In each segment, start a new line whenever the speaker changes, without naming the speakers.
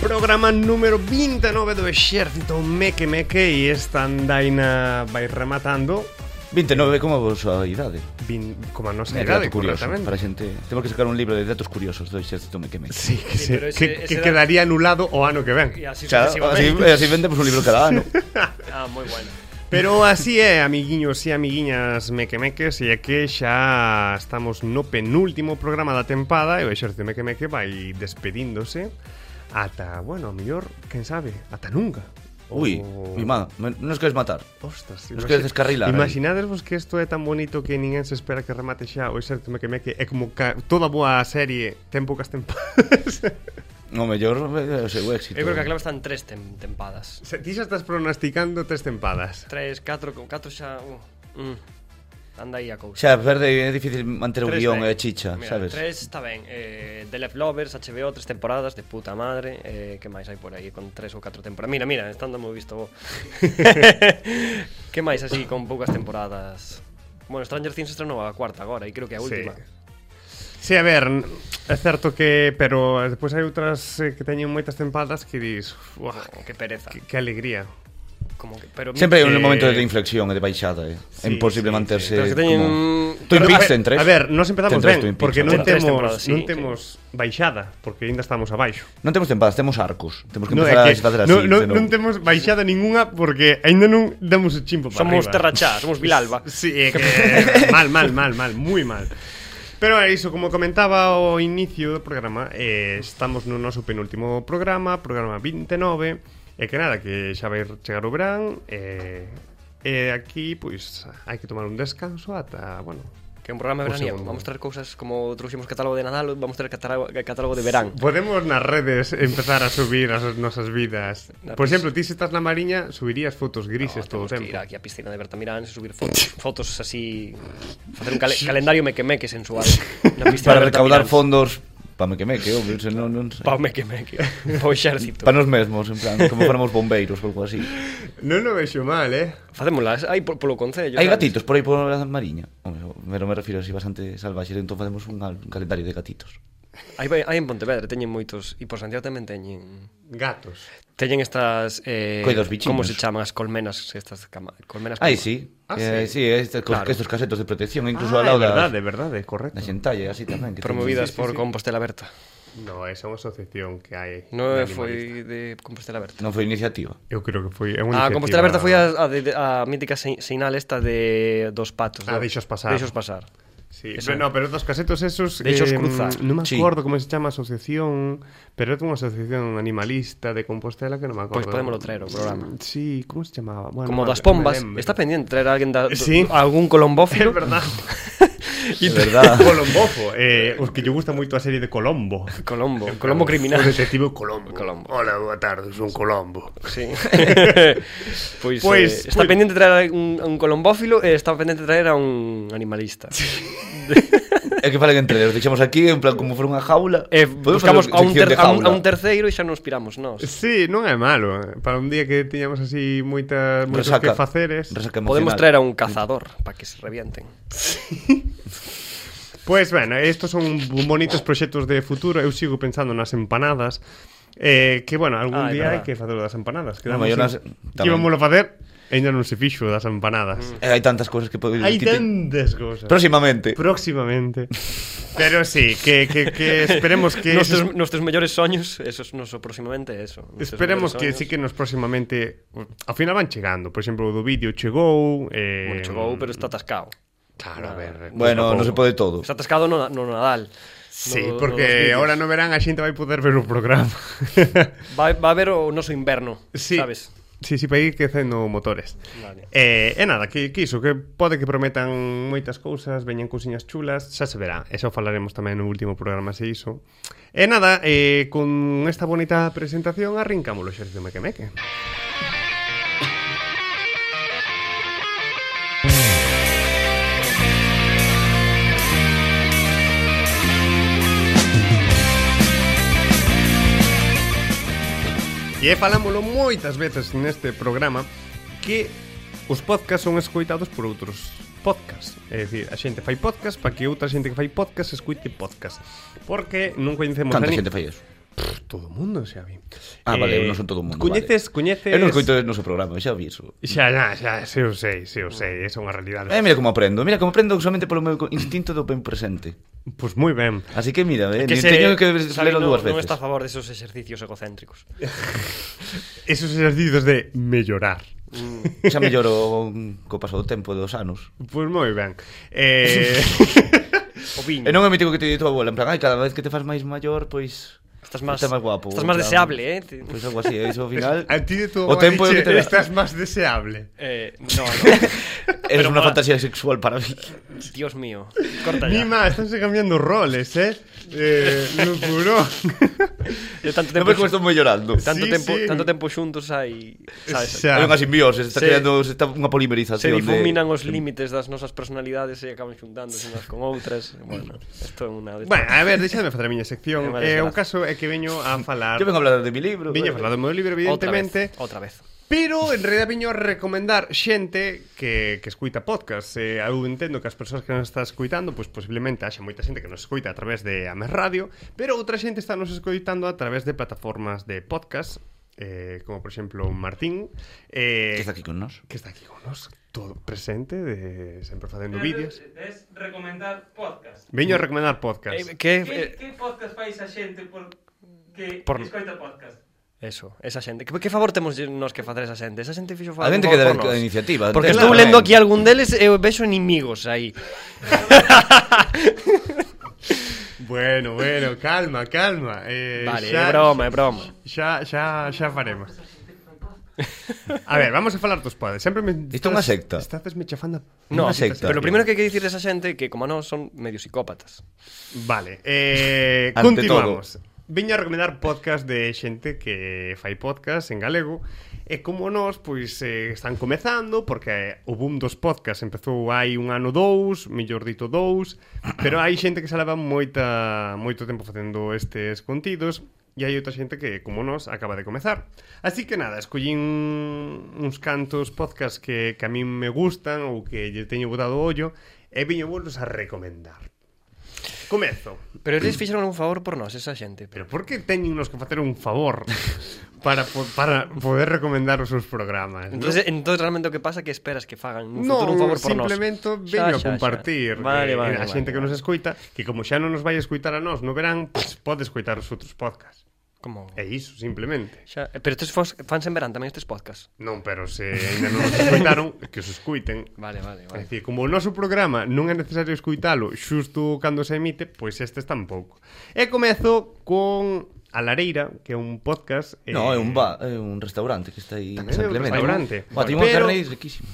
Programa número 29 do Exército Meque Meque e esta andaina vai rematando
29 como a vosa idade.
vin, como a nosa
É
idade,
dato curioso
correctamente.
para a xente. Temos que sacar un libro de datos curiosos este do exército mequeme.
Sí, que,
Sí,
se-
pero ese-
que-
ese
que
era-
quedaría anulado o ano que
Y
ven.
así
Xa, así, eh,
sucesivamente.
así vendemos un libro cada ano.
Ah, moi bueno.
Pero así é, amiguiños e amiguiñas mequemeques, e é que xa estamos no penúltimo programa da tempada e o Exército Mequemeque vai despedíndose ata, bueno, a mellor, quen sabe, ata nunca.
Ui,
O-
mi má, me- non nos queres matar.
Ostras,
Nos queres
eh?
descarrilar aí.
Imaginadesvos que isto é tan bonito que ninguén se espera que remate xa o Exército Mequemeque é como ca... toda boa serie ten poucas tempadas.
No mellor é o seu éxito.
Eu creo que a clave están tres tem tempadas.
Se- Ti xa estás pronosticando tres tempadas.
Tres, catro, con catro xa... Uh, mm. Anda aí a cousa.
Xa, verde é difícil manter o
Tres
guión
eh,
ben.
e a chicha,
Mira,
sabes?
Tres está ben. Eh, The Left Lovers, HBO, tres temporadas, de puta madre. Eh, que máis hai por aí con tres ou catro temporadas? Mira, mira, estando moi visto vos. que máis así con poucas temporadas? Bueno, Stranger Things estrenou a cuarta agora e creo que a última.
Sí. Sí, a ver, n- é certo que... Pero despois hai outras eh, que teñen moitas tempadas que dis... Uah,
Oh, que pereza.
que, que alegría.
Como que, pero
Sempre hai un
Eh,
momento de inflexión e de baixada, eh.
sí,
É imposible
sí,
manterse
sí. Pero que teñen-
como... Twin
Pero,
a
Peaks
ver-
ten tres.
A ver, nos empezamos
Ten tres Twin
ben,
Peaks,
porque
a
non
ver.
Ten tres
temos,
temporadas, sí,
non
sí.
temos baixada, porque aínda estamos abaixo.
Non temos tempadas, temos arcos. Temos que
Non,
empezar a facer así.
non, non,
de novo.
non temos baixada ningunha porque aínda non damos o chimpo para
Somos
arriba.
Terrachá, somos Vilalba.
Sí, é que mal, mal, mal, mal, moi mal. Pero é iso, como comentaba ao inicio do programa, eh, estamos no noso penúltimo programa, programa 29, e que nada, que xa vai chegar o verán, e eh, eh, aquí, pois, hai que tomar un descanso ata, bueno,
Que é un programa
O
veraniego.
segundo.
Vamos traer cousas como trouxemos catálogo de Nadal, vamos traer catálogo, catálogo de verán.
Podemos nas redes empezar a subir as nosas vidas.
Na
Por
pis-
exemplo, ti se estás na mariña, subirías fotos grises no, todo o
temos que ir
tempo.
aquí a piscina de Bertamirán e subir fotos, fotos así facer un cale, calendario mequemeque sensual na piscina
Para
de
recaudar
Bertamirán.
fondos pa mequemeque, obvio, senón non sei.
pa o mequemeque pa o exército
Pa nos mesmos, en plan, como fóramos bombeiros ou algo así.
Non lo vexo mal, eh?
facémolas aí por, polo concello
Hai
sabes?
gatitos por aí por a mariña. Home, Pero me refiero así bastante salvaxe, entón facemos un, al- un calendario de gatitos.
aí, vai- aí en Pontevedra teñen moitos e por Santiago tamén teñen
Gatos.
teñen estas eh,
Coidos bichiños.
como se chaman as colmenas estas cama, colmenas
Aí
como-
sí.
Ah,
eh,
sí.
sí, este,
Claro.
claro. estos casetos de protección, incluso
é
ah, ao lado da,
verdade, verdade, correcto.
da xentalle, así tamén. Que
Sí,
promovidas
sí,
por
sí.
Compostela Berta
No, esa é unha asociación que hai.
non
de animalistas.
foi de Compostela Berta
Non foi iniciativa.
Eu creo que foi é unha
Ah, como está aberta foi
iniciativa-
a, a, de, a mítica se- seinal esta de dos patos.
Ah,
do-
deixos pasar.
Deixos pasar.
Sí,
Eso.
pero, no, pero dos casetos esos
Deixos cruzar.
Non me
Sí.
acordo como se chama a asociación Pero é unha asociación animalista de Compostela que non me acordo
Pois podémoslo traer ao programa.
Sí, como se chamaba? Bueno, non
Como
me- non
das
me
pombas.
lembro.
Está pendiente traer a alguén da, do-
Sí.
algún
É
colombófilo.
verdade
É verdad.
Colombofo, eh, os que lle gusta moito a serie de Colombo.
Colombo. Colombo criminal.
O detective Colombo.
Colombo.
Hola, boa tarde, son Colombo.
Sí. pois,
Pois,
eh, está
pois-
pendiente traer a un, a un colombófilo e está pendiente traer a un animalista.
É que falen entre eles, deixamos aquí, en plan, como for unha jaula.
Eh,
Podemos
buscamos
facer
a un,
sección
ter,
de
a, un,
jaula.
a un terceiro e xa nos piramos nós.
Sí, non é malo. eh. Para un día que tiñamos así moitas moitos que
Resaca.
faceres.
Resaca emocional.
Podemos traer a un cazador para que se revienten.
Pois, bueno, estos son bonitos proxectos de futuro. Eu sigo pensando nas empanadas. Eh, que, bueno, algún
Ah, é
día hai
verdad.
que facer o das empanadas.
No,
Quedamos
yo nas-
en-
tamén.
Que íbamos a facer, ainda non se fixo das empanadas.
Eh, hai tantas cousas que podemos...
Hai
que te-
tantas cousas.
Próximamente.
Próximamente. Pero sí, que, que, que esperemos que...
Nos
esos-
teus, nos teus mellores soños, eso nos próximamente é eso. Nos teus
Esperemos que
mellores
sí
soños.
que nos próximamente Ao final van chegando Por exemplo, o do vídeo chegou eh...
Bueno, chegou, pero está atascado.
Claro, a ver
Bueno,
pouco a
non se
pouco.
pode todo.
Está atascado no, no Nadal.
Oh. Sí,
No-
porque
nos vídeos.
ahora no verán a xente vai poder ver o programa
Va, va a haber o noso inverno,
sí.
sabes?
Sí, sí, para ir quecendo motores
Vale.
eh, E nada, que, que iso Que pode que prometan moitas cousas Veñan cousiñas chulas Xa se verá, e xa o falaremos tamén no último programa Se iso E nada, eh, con esta bonita presentación Arrincámolo xa de Meque Meque que falámoslo moitas veces neste programa que os podcasts son escoitados por outros podcast É dicir, a xente fai podcast para que outra xente que fai podcast escoite podcast Porque non coñecemos
Canta
a ni...
xente fai eso?
Todo o mundo, Xavi
Ah, vale, non son todo o mundo,
Coñeces,
vale.
coñeces
Eu non escoito o noso programa, xa vi iso.
Xa, xa, xa, se eu sei, se eu sei, esa é unha realidade
Eh, mira como aprendo, mira como aprendo solamente polo meu co- instinto do ben presente.
Pois moi ben
Así que mira, eh,
Que
que
se-
teño que
Xavi
lelo
non-
dúas
Non
veces.
está a favor desos exercicios egocéntricos.
Esos exercicios de mellorar
Xa melloro co paso do tempo dos anos.
Pois moi ben eh...
O viño.
E non é mítico que te di tua abuela, en plan, ai, cada vez que te fas máis maior, pois...
Estás máis-
estás máis guapo.
estás máis
en plan,
deseable, eh, ti-
Pois algo así, e iso ao final...
A ti de todo
o tempo é o que te dá.
Estás máis deseable
Eh, no, no.
Eres
Pero
unha
mola.
fantasía sexual para mí.
Dios mío. Corta ya.
Mima, estánse cambiando roles, eh? eh Lupurón
De tanto
Non
tempo,
me como estou moi llorando.
Tan-
tanto
Sí,
tempo,
sí.
tanto tempo xuntos hai, sabes?
Xa.
É unha simbiose, se está
Se-
creando se está unha
Se
polimerización.
difuminan
de...
os límites das nosas personalidades e acaban xuntándose unhas con outras. Bueno, isto é unha de
Bueno, a ver, deixadme facer a miña sección eh,
Vale, vale.
O caso é que veño a falar
Yo vengo a hablar de mi libro.
Viño a falar do meu libro, evidentemente
Outra vez. Outra vez.
Pero en realidad viño a recomendar xente que, que escuita podcast eh, Eu entendo que as persoas que nos está escuitando Pois posiblemente haxa moita xente que nos escuita a través de Ames Radio Pero outra xente está nos escuitando a través de plataformas de podcast eh, Como por exemplo Martín eh,
Que está aquí con nós.
que está aquí con nos todo presente de sempre facendo vídeos.
Es recomendar podcast.
Veño a recomendar podcast.
Eh, que,
Que,
eh,
que podcast fais a xente por que
Por-
escoita podcast?
eso, esa xente. Que, que favor temos nos que facer esa xente? Esa xente fixo
A
favor.
gente que
favor
da
por
a
nós.
iniciativa.
Porque
entende,
estou
ben.
lendo aquí algún deles e eu vexo inimigos aí.
Bueno, bueno, calma, calma. Eh,
Vale, é broma, é broma.
Xa, xa, xa faremos. A ver, vamos a falar dos padres. Sempre me
Isto é unha secta.
Estades me chafando.
No,
Unha secta.
pero lo primero que hai que dicir desa xente é que como non son medio psicópatas.
Vale, eh,
Ante
continuamos. Viño a recomendar podcast de xente que fai podcast en galego E como nós, pois, eh, están comezando Porque eh, o boom dos podcast empezou hai un ano dous Mellor dito dous Pero hai xente que se leva moita, moito tempo facendo estes contidos E hai outra xente que, como nós, acaba de comezar Así que nada, escollín uns cantos podcast que, que a min me gustan Ou que lle teño botado o ollo E viño vos a recomendar Comezo.
Pero eles fixeron un favor por nós, esa xente.
Pero por que teñen nos que facer un favor para, po- para poder recomendar os seus programas? non?
Entonces, entonces realmente o que pasa é que esperas que fagan un
No,
futuro un favor por nós.
simplemente
Xa,
veño a
xa, xa.
compartir
Vale,
eh,
vale,
a
vale,
xente que
vale.
nos escoita Que como xa non nos vai escoitar a nós no verán pues, Pode escoitar os outros podcasts
Como...
É iso, simplemente
Xa, eh, pero estes fos, fans en verán tamén estes podcast.
Non, pero se ainda non nos escoitaron Que os escoiten
Vale,
É
vale, vale.
dicir, como o noso programa non é necesario escuitalo xusto cando se emite, pois estes tampouco. E comezo con A Lareira, que é un podcast... eh,
No, é un ba, é un restaurante que está aí en
Tamén é
San
un
Clemente.
restaurante.
O atimo
Pero-
pero... carne é riquísimo.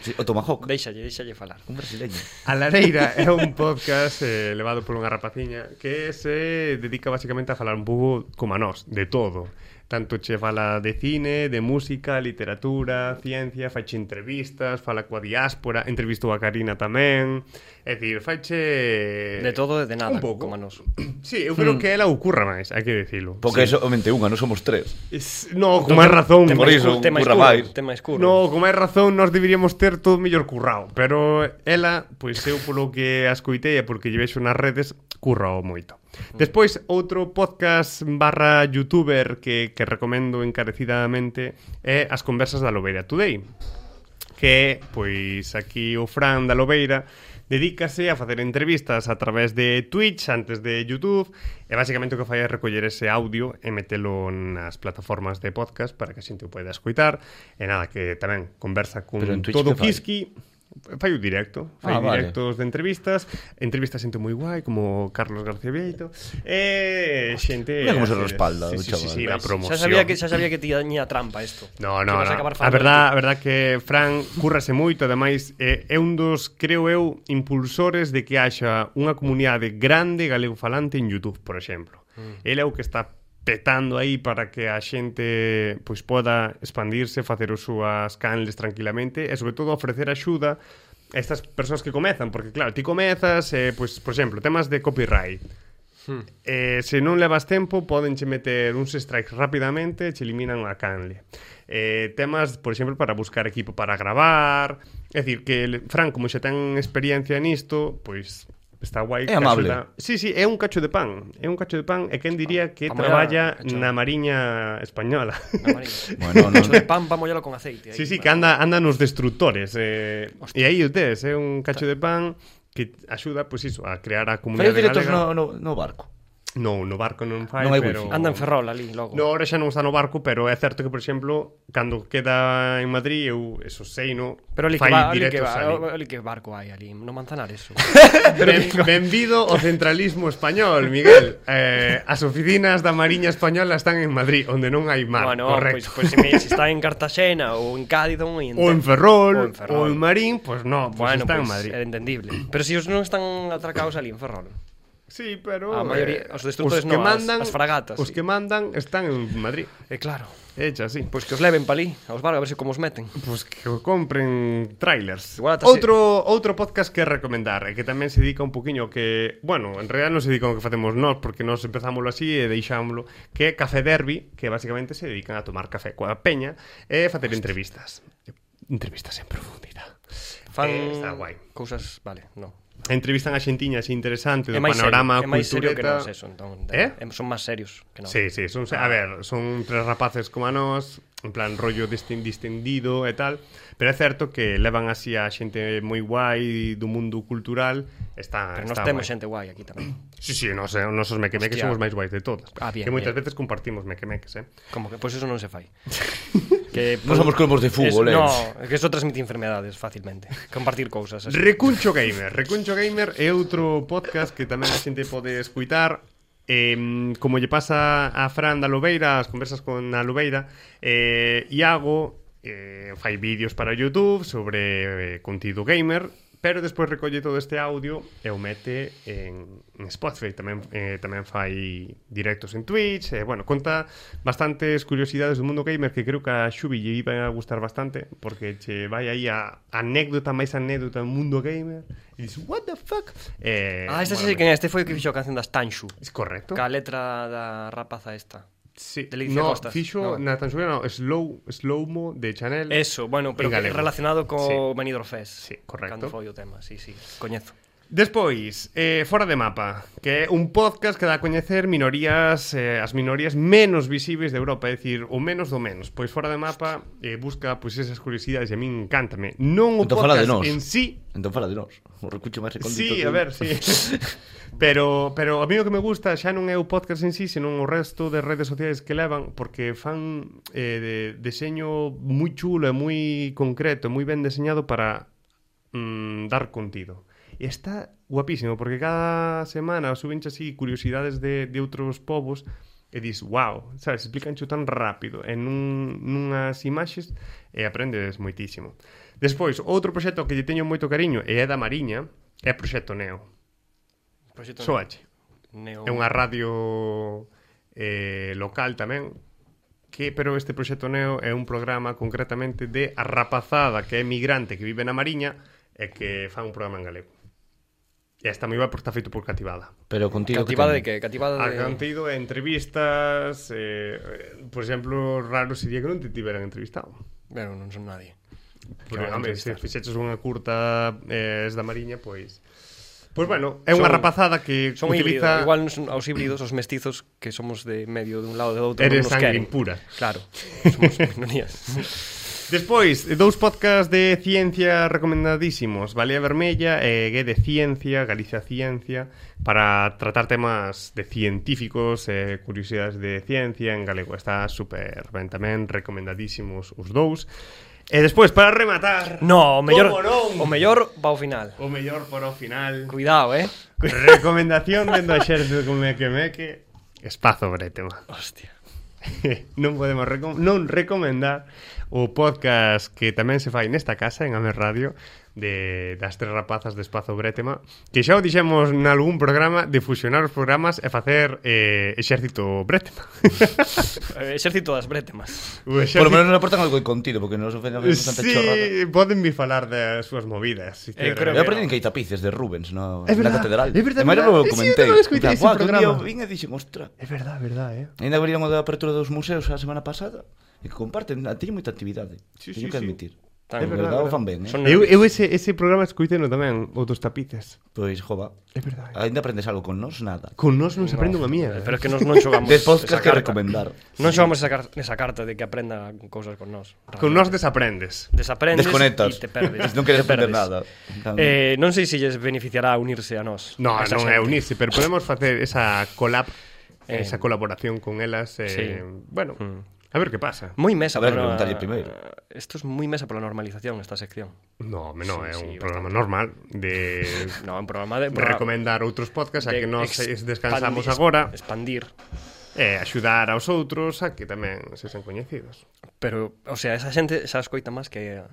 Sí, O tomahawk.
Deixalle, deixalle falar.
Un brasileño.
A Lareira é un podcast eh, levado por unha rapaciña que se dedica basicamente a falar un pouco como a nós, de todo. Tanto che fala de cine, de música, literatura, ciencia, faiche entrevistas, fala coa diáspora, entrevistou a Karina tamén. É dicir, faiche...
De todo Mm. e de nada,
Eh, un pouco.
como a nós.
Sí, eu creo que ela ocurra máis, hai que dicilo.
Porque
sí.
sí. somente unha, non somos tres.
Es- No, con máis razón.
Por iso,
cur- tema
curra
escuro,
máis.
tema escuro.
No, con máis razón nos deberíamos ter todo mellor currao Pero ela, pois eu polo que a escoitei e porque lle vexo nas redes Currao moito Despois, outro podcast barra youtuber que, que recomendo encarecidamente É As Conversas da Lobeira Today que pois aquí o Fran da Lobeira dedícase a facer entrevistas a través de Twitch antes de YouTube e basicamente o que fai é recoller ese audio e metelo nas plataformas de podcast para que a xente o poida escoitar e nada, que tamén conversa con
Pero en Twitch
todo
que fai?
Kiski fai o directo, fai
Ah,
ah,
vale.
directos de entrevistas, entrevistas xente moi guai como Carlos García Vieito e xente
Mira como se
así de-
respalda
sí,
o
sí,
chaval.
sí, sí, da promoción.
Xa sabía que xa sabía que tiña trampa isto.
No,
Que
no,
vas
no.
acabar
A
falando
verdad, a
de ti.
verdad que Fran currase moito, ademais é, é un dos, creo eu, impulsores de que haxa unha comunidade grande galegofalante en YouTube, por exemplo. Mm. Ele é o que está petando aí para que a xente pois poda expandirse, facer os súas canles tranquilamente e sobre todo ofrecer axuda a estas persoas que comezan, porque claro, ti comezas, eh, pois, por exemplo, temas de copyright Eh, se non levas tempo, podenche meter uns strikes rapidamente e che eliminan a Canle. Eh, temas, por exemplo, para buscar equipo para gravar, é dicir, que el- Fran, como xa ten experiencia nisto, pois está guai. que
É amable.
axuda- Sí, sí, é un cacho de pan. É un cacho de pan e quen diría que
Ah,
traballa
cacho.
na Mariña Española.
Bueno,
Bueno,
no-
no. de pan, vamos con aceite.
Sí, sí, que anda, andan os destructores. Eh, e aí o tes, é un cacho de pan que axuda, pois iso, a crear a
Pero
comunidade
directos
galega.
no, no, no barco.
No, no barco non fai,
Non hai
pero...
wifi.
Anda en Ferrol ali, logo.
No, ahora xa non está no barco, pero é certo que, por exemplo, cando queda en Madrid, eu eso sei, no?
Pero ali que
fai
va, ali que
directos
va,
ali.
ali que barco hai ali, no Manzanares.
Ben, benvido ao centralismo español, Miguel. Eh, as oficinas da Mariña Española están en Madrid, onde non hai mar,
bueno,
correcto.
pois pues, pues, se, se está en Cartaxena ou en Cádiz ou en,
ou en Ferrol,
ou
ou en, Marín, pois no, pois
bueno, eh,
está
pues,
en Madrid.
Era entendible. Pero se os non están atracados ali en Ferrol.
Sí, pero eh,
A maioría- os destructores
os que
no, as-
mandan,
as fragatas,
Os
sí.
que mandan están en Madrid.
Eh, claro.
Hecha así.
Pois que os leven pa ali, aos barcos, a ver se como os meten.
Pois pues, que o compren trailers.
Igual ata
Outro outro podcast que recomendar, e que tamén se dedica un poquinho ao que, bueno, en realidad non se dedica ao que facemos nós, porque nós empezámoslo así e deixámoslo, que é Café Derby, que basicamente se dedican a tomar café coa peña e facer entrevistas. Entrevistas en profundidade.
Fan
Eh, está guai.
cousas, vale, no.
Entrevistan a xentiña así interesante do
É máis
panorama
serio, é máis serio que
cultureta.
nós eso, entón,
Eh?
eh? son máis serios que nós.
Sí, sí, son,
Ah.
a ver, son tres rapaces como a nós, en plan rollo disten- distendido e tal, pero é certo que levan así a xente moi guai do mundo cultural, está
Pero
está
nós temos
guai.
xente guai aquí tamén.
Sí, sí, nós, eh, nosos mequemeques
Hostia.
somos máis guais de todos.
Ah, bien,
que moitas
bien.
veces compartimos mequemeques, eh.
Como que pois eso non se fai. que
Non somos cromos de fútbol,
es,
eh.
No, é que eso transmite enfermedades fácilmente. Compartir cousas así.
Recuncho Gamer. Recuncho Gamer é outro podcast que tamén a xente pode escuitar. Eh, como lle pasa a Fran da Lobeira, as conversas con a Lobeira, eh, Iago eh, fai vídeos para YouTube sobre eh, contido gamer, pero despois recolle todo este audio e o mete en, en Spotify. Tamén, eh, tamén fai directos en Twitch. Eh, bueno, conta bastantes curiosidades do mundo gamer que creo que a Xubi lle iba a gustar bastante porque che vai aí a anécdota máis anécdota do mundo gamer e dices, what the fuck? Eh,
Ah, este
mola
sí que este foi o que fixo a canción das Tanshu.
moito. Es correcto.
Ca letra da rapaza esta.
sí.
de Alicia
no,
Costas,
fixo
no.
na tan no, slow, slow-mo de Chanel.
Eso, bueno, pero
En
que
galego.
relacionado co
Sí.
sí. Benidorm Fest.
Sí, correcto.
Cando foi o tema, sí, sí, coñezo.
Despois, eh, Fora de Mapa, que é un podcast que dá a coñecer minorías, eh, as minorías menos visíveis de Europa, é dicir, o menos do menos. Pois Fora de Mapa eh, busca pois esas curiosidades e a min encántame. Non o
Entón fala
podcast
de nós.
en sí,
Entón fala de nós. O recucho máis recóndito.
Sí, a
que-
ver, sí. Pero, pero a mí o que me gusta xa non é o podcast en sí, senón o resto de redes sociais que levan, porque fan eh, de deseño moi chulo e moi concreto, moi ben deseñado para mm, dar contido. E está guapísimo, porque cada semana suben así curiosidades de, de outros povos e dis, wow, sabes, explicancho tan rápido en un, nunhas imaxes e aprendes moitísimo. Despois, outro proxecto que lle teño moito cariño e é da Mariña, é Proxecto Neo.
Proxecto
Soache.
Neo.
É unha radio eh, local tamén que pero este proxecto Neo é un programa concretamente de a rapazada que é migrante que vive na Mariña e que fan un programa en galego. E está moi guai porque está feito por cativada.
Pero contigo
Cativada de
que ten?
que? Cativada
Ha
de...
contido entrevistas, eh, eh, por exemplo, raro sería que non te tiveran entrevistado.
Bueno, non son nadie.
Porque,
van a
home, se
entrevistar.
fixeches unha curta eh, es da Mariña, pois... Pois bueno, é
Son-
unha rapazada que
Son
utiliza...
híbridos, igual non son aos híbridos, os mestizos que somos de medio de un lado e do outro,
Eres
non nos
sangre
queren.
impura.
Claro, somos minorías.
Despois, dous podcasts de ciencia recomendadísimos, Balea Vermella e Gué de Ciencia, Galicia Ciencia, para tratar temas de científicos e curiosidades de ciencia en galego. Está super ben tamén, recomendadísimos os dous. E despois, para rematar,
no, o mellor,
Como non?
o mellor va ao final.
o mellor por o final,
Cuidado, eh.
recomendación dentro a xerce con Meque Meque, espazo bretema.
Hostia.
non podemos recom non recomendar o podcast que tamén se fai nesta casa en Amer Radio de das tres rapazas de Espazo Bretema que xa o dixemos nalgún programa de fusionar os programas e facer eh, Exército Bretema
Eh, exército das bretemas.
o
Por lo
exército...
menos nos aportan algo de contido, porque nos ofenden bastante chorrada.
Sí, poden vi falar das súas movidas sinceramente.
creo
Eu aprendi que hai tapices de Rubens no,
É verdad,
na catedral.
é verdad,
E máis
verdad.
logo
Sí,
comentei.
eu tamén escoitei ese
Guau, que un día
programa.
vin e dixen, ostra,
É verdad, é verdad, eh
Ainda abriron o da apertura dos museos a semana pasada e que comparten, ah, teñen moita actividade.
Sí, sí,
Sí, teño que
sí.
admitir.
Tan-
Tan,
É
en
verdad,
verdade o
verdad.
fan ben, eh?
Son-
Eu, eu ese, ese programa escoiteno tamén, o dos tapices.
Pois, jova,
É verdade.
ainda aprendes algo con nós, nada.
Con nós non se aprende unha mierda.
Pero é que nos non xogamos
De podcast
esa
que
carta.
recomendar.
Non xogamos esa, car esa carta de que aprenda cousas con nós.
Con nós desaprendes.
desaprendes
Desconectas.
e te perdes.
non queres
Te perdes.
aprender nada. Tan-
Eh, non sei se lles beneficiará unirse a nós.
No,
a esa
non é
xente.
unirse, pero podemos facer esa collab,
Eh,
esa colaboración con elas. Eh,
sí.
Bueno,
Mm.
a ver que pasa.
Moi mesa
Habrá
pola-
que preguntarlle primeiro.
Isto é moi mesa pola normalización esta sección.
No, home, no, é
Sí, sí,
un
bastante.
programa normal de,
No, é un programa de...
de recomendar outros podcasts Pues a que nos
expandir-
descansamos agora
Expandir.
e axudar aos outros a que tamén se sen coñecidos.
Pero, o sea, esa xente xa escoita máis que...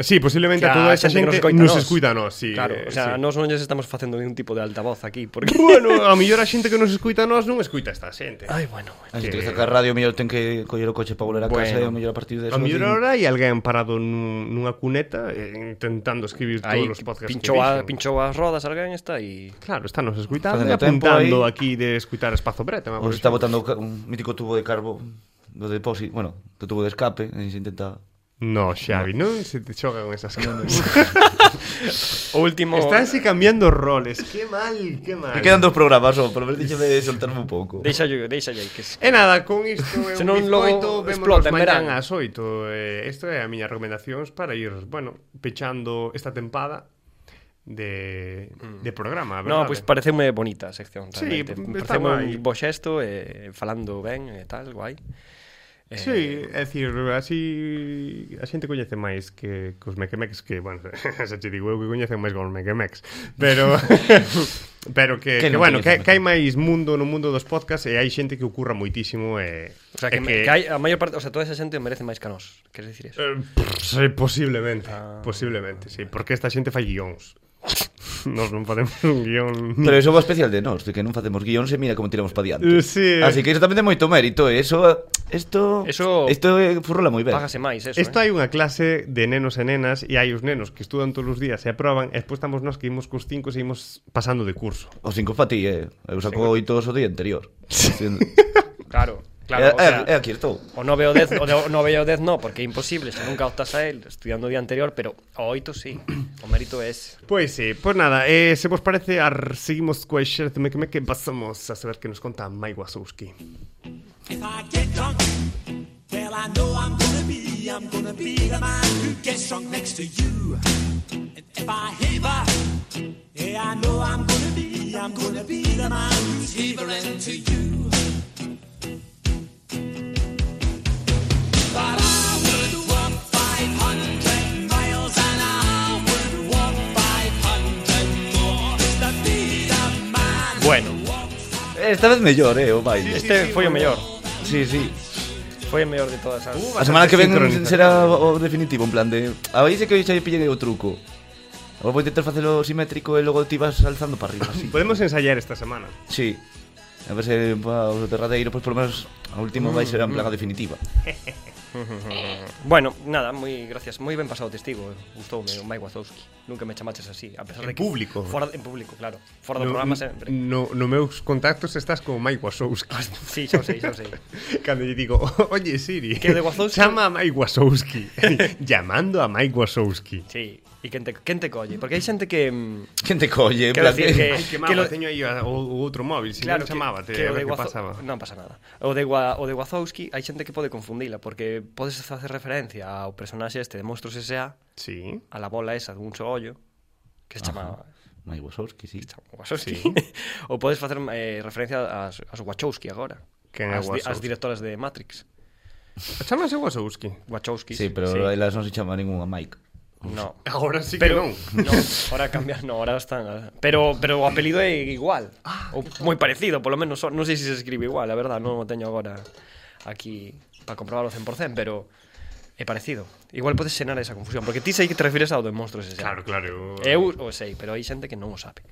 Sí, posiblemente
que
a toda esa gente
escoita
nos escuita a nós, sí.
Claro,
eh,
o sea,
sí.
nós non lles estamos facendo ningún tipo de altavoz aquí, porque...
Bueno, a mellor a xente que nos escuita a nós non escuita a esta xente.
Ai, bueno, bueno.
A xente que
que-
está ca radio, mellor ten que coller o coche para volver a casa e
Bueno.
o mellor a partir de
A mellor ahora hai alguén parado nun- nunha cuneta eh, intentando escribir
Aí
todos os podcasts
pinchou,
que
a,
dixen.
pinchou as rodas alguén está e...
Claro, está nos escuitando e
Facendo tempo
apuntando
aí.
aquí de escutar Espazo Breta.
Ou se está botando o ca- un mítico tubo de carbo do depósito, bueno, do tubo de escape, e se intenta...
No, Xavi, non se te choca con esas cousas.
O último...
Estánse cambiando roles. Qué mal, qué mal.
Me quedan dos programas, só, por lo menos déxame soltarme un pouco.
Deixallo, deixallo aí, que se...
E nada, con isto é
Se
un
non logo
bizcoito,
explota
vémonos mañán
en verán.
ás 8. Eh, Isto é a miña recomendacións para ir, bueno, pechando esta tempada de, de programa,
Mm.
verdade?
No, pois pareceume bonita a sección,
Sí,
realmente.
está
pareceume
guai.
un bo xesto, eh, falando ben e tal, guai. Eh,
Sí, é dicir, así a xente coñece máis que, que os mequemex que, bueno, xa che digo eu que coñecen máis que os mequemex, pero pero que, que,
Que
que
non
bueno, que,
coñecen
que hai máis mundo no mundo dos podcasts e hai xente que ocurra moitísimo e
O sea,
e
que, que... que hai, a maior parte, o sea, toda esa xente merece máis que a nós. Queres dicir eso?
eh, pff, sí, posiblemente,
Ah.
posiblemente, sí, porque esta xente fai guións. Nos non podemos un guión.
Pero iso é o especial de nós, de que non facemos guións e mira como tiramos pa diante.
Mm. Eh, sí.
Así que iso tamén ten moito mérito, e iso isto
Eso-
isto eh, furrola moi ben.
Págase máis, eso,
Isto hai
eh?
unha clase de nenos e nenas e hai os nenos que estudan todos os días e aproban e despois estamos nós que imos cos cinco e seguimos pasando de curso.
O cinco pa ti, eh. Eu saco oito o día anterior.
Claro, claro,
eh,
o sea...
eh, aquí estou.
O 9 o 10, o, de, o 9 o 10 no, porque é imposible, se nunca optas a él estudiando o día anterior, pero o 8 sí, o mérito é ese.
Pois Pues sí, pois nada, eh, se vos parece, ar, seguimos coa xerce me que pasamos a saber que nos conta Mai Wazowski.
If I get drunk, well, I know I'm gonna be, I'm gonna be the man who gets drunk next to you. And if I heaver, yeah, I know I'm gonna be, I'm gonna be the man who's heavering to you. But I would walk 500 miles and I would walk 500 more to be the man.
Bueno,
Eh, Esta vez mellor, eh, o baile.
este foi o mellor,
Sí, sí.
foi o mellor de todas as...
A semana que ven
Sincronizado.
será o o definitivo, en plan de... A veis que hoxe xa lle pillei o truco. Ou vou intentar facelo simétrico e logo ti vas alzando para arriba, así.
Podemos ensayar esta semana.
Sí. A ver se pa o derradeiro, pois polo menos a
Mm,
última vai ser en plan a definitiva.
Bueno, nada, moi gracias, moi ben pasado o testigo, eh, gustoume o Mike Wazowski. Nunca me chamaches así, a pesar
En
de que
público.
Fora en público, claro. Fora do programa sempre.
no, no meus contactos estás con Mai Wazowski.
Ah, Sí, xa o sei, xa o sei.
Cando lle digo, oye Siri,
Que de Wazowski-
chama a Mai Wazowski. Llamando a Mai Wazowski.
Sí, e quen te, quen te colle? Porque hai xente que... mm,
Quen te colle? En
Quero
plan
decir
de...
que-
Ai, que
que
mal,
lo-
teño aí a- o, o outro móvil, se non
que-
chamábate,
que
a
o
ver
de
que
Wazo-
pasaba.
Non pasa nada. O de, Wa- o de Wazowski hai xente que pode confundila, porque podes facer referencia ao personaxe este de Monstruos S.A.,
Sí.
a la bola esa dun só ollo, que se chamaba
Mai Ah, Wazowski, sí.
Wazowski. ou podes facer eh, referencia ás, ás Wachowski agora.
Quen é
as, di- as
Wazowski?
directoras de Matrix.
Chamase Wazowski.
Wachowski.
Sí, pero elas non se chama ninguna Mike.
No.
Agora sí
Pero
que non.
no, ahora cambian, no, ahora están. ah, Pero pero o apelido é igual, ah, ou moi parecido, polo menos, son- non sei se se escribe igual, a verdad, non o teño agora aquí para comprobarlo 100%, pero é parecido. Igual podes xenar esa confusión, porque ti sei que te refires ao de monstruos ese.
Claro, claro.
Eu o sei, pero hai xente que non o sabe.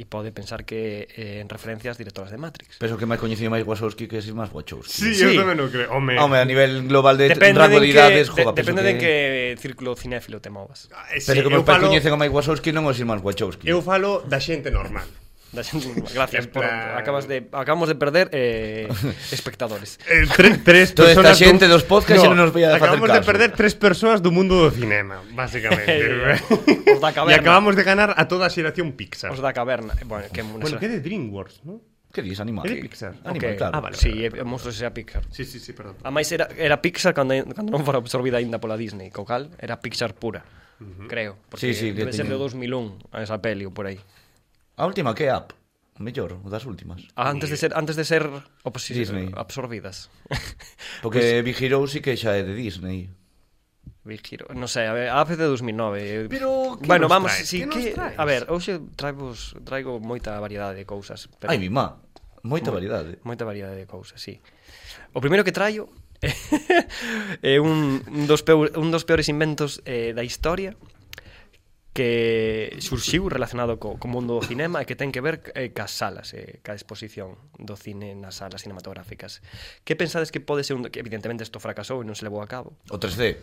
E pode pensar que eh, en referencias directoras de Matrix.
Penso que máis coñecido máis Wazowski que si máis Wachowski.
Sí,
Sí.
eu tamén o creo. Home,
Home, a nivel global de
Depende
rango de
de, que,
idades,
de,
joda,
depende
penso
de en que círculo cinéfilo te movas.
eh, sí,
Penso que
eu,
meus pais
falo,
coñecen a Mike Wazowski non os irmáns Wachowski.
eu falo da xente normal.
Da xente, gracias
En
por,
plan-
acabas de acabamos de perder eh, espectadores.
Eh, tres, tres
Toda esta
personas dun-
xente dos podcasts xa non nos vai a facer
Acabamos de
caso.
perder tres persoas do mundo do cinema, basicamente.
Os da
e
caverna.
acabamos de ganar a toda a xeración Pixar.
Os da caverna. Eh, Bueno, que
Bueno, que é de DreamWorks, non?
Que dis, animal?
É de Pixar.
Animal,
Ok.
claro.
Ah, vale.
Sí, é, é monstruos era Pixar.
Sí, sí, sí, perdón.
A máis era, era Pixar cando, cando non fora absorbida aínda pola Disney, co cal era Pixar pura, creo.
Sí,
Porque
sí, que
debe ser de
teñen-
2001 a esa peli ou por aí.
A última, que app? O mellor, o das últimas.
Ah, Antes de ser antes de ser opos-
Disney.
absorbidas.
Porque Big Hero sí que xa é de Disney.
Big Hero. No sei, a ver, a de 2009. eh,
Pero, que nos
bueno, vamos,
traes?
sí
Que nos
que
traes?
a ver, hoxe traivos traigo moita variedade de cousas, pero
Ai, mi má. Moita eh. variedade.
moita variedade de cousas, sí. O primeiro que traio é un, un dos peor, un dos peores inventos eh, da historia que surxiu relacionado co, co mundo do cinema e que ten que ver eh, cas salas, eh, ca exposición do cine nas salas cinematográficas. Que pensades que pode ser un... que evidentemente isto fracasou e non se levou a cabo.
O 3D.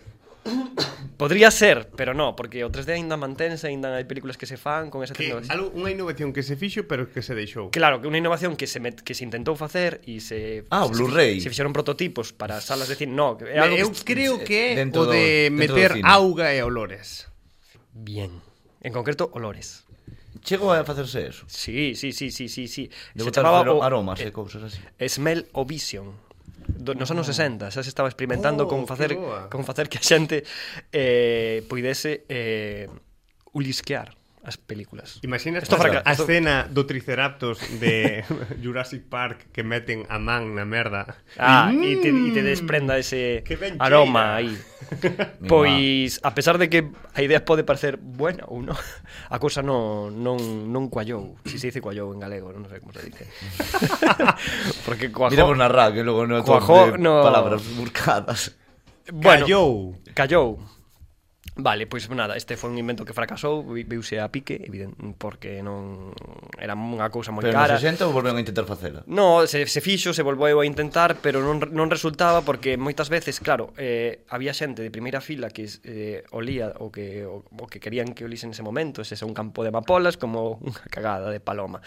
Podría ser, pero no, porque o 3D aínda mantense, aínda hai películas que se fan con esa
Que
tecnoloxía.
algo, unha innovación que se fixo, pero que se deixou.
Claro, que unha innovación que se met, que se intentou facer e se
Ah, o
se-
Blu-ray.
Se fixeron prototipos para salas de cine, no, que é algo
Eu
que
creo que é
Dentro
o de
do- dentro do
meter
cine.
auga e olores.
bien. En concreto, olores.
Chego a facerse eso.
Sí, sí, sí, sí, sí, sí.
De botar
o-
aromas e
eh,
cousas así.
Smell o Vision. Do, nos anos 60 xa se estaba experimentando
Oh,
con
que
facer
boa.
con facer que a xente eh puidese eh ulisquear as películas.
Imaginas
Esto
a,
fraca-
a
esto-
escena do Triceratops de Jurassic Park que meten a man na merda.
Ah,
Mm.
e te, e te desprenda ese
Que ben cheira.
aroma aí.
Mi
pois, a pesar de que a idea pode parecer buena ou non, a cousa non, non, non cuallou. Si se dice cuallou en galego, non sei como se dice. Porque cuajó...
Miramos na RAC, que logo non
Cuajó,
de
no.
palabras buscadas.
bueno,
Callou.
Callou. Vale, pois nada, este foi un invento que fracasou, vi- viuse a pique, evidente, porque non era unha cousa moi
Pero
cara.
nos 60 volveron a intentar facela.
No, se, se fixo, se volveu a intentar, pero non, non resultaba porque moitas veces, claro, eh, había xente de primeira fila que eh, olía o que, o, o que querían que olise nese momento, ese é un campo de amapolas como unha cagada de paloma.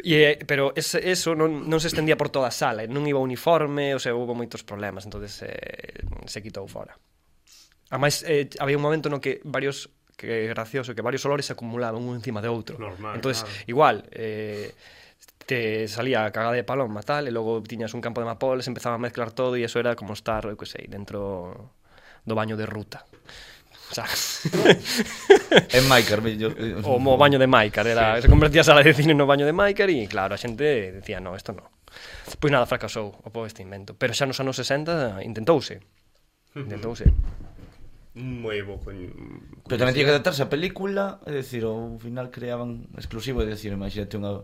E, eh, pero ese, eso non, non se estendía por toda a sala, e non iba uniforme, o sea, houve moitos problemas, entonces eh, se quitou fora. Ademais, eh, había un momento no que varios que é gracioso, que varios olores se acumulaban un encima de outro.
Normal,
Entonces,
claro.
igual, eh, te salía a cagada de paloma, tal, e logo tiñas un campo de mapoles, empezaba a mezclar todo e eso era como estar, eu que sei, dentro do baño de ruta. O sea,
En Maicar, mellor.
o mo baño de Maikar, era, se convertía a sala de cine no baño de Maikar e claro, a xente decía, no, isto no. Pois nada, fracasou o po este invento, pero xa nos anos 60 intentouse. Intentouse.
Moi bo con...
Pero tamén tiña que adaptarse a película, é dicir, ao final creaban exclusivo, é dicir, imagínate unha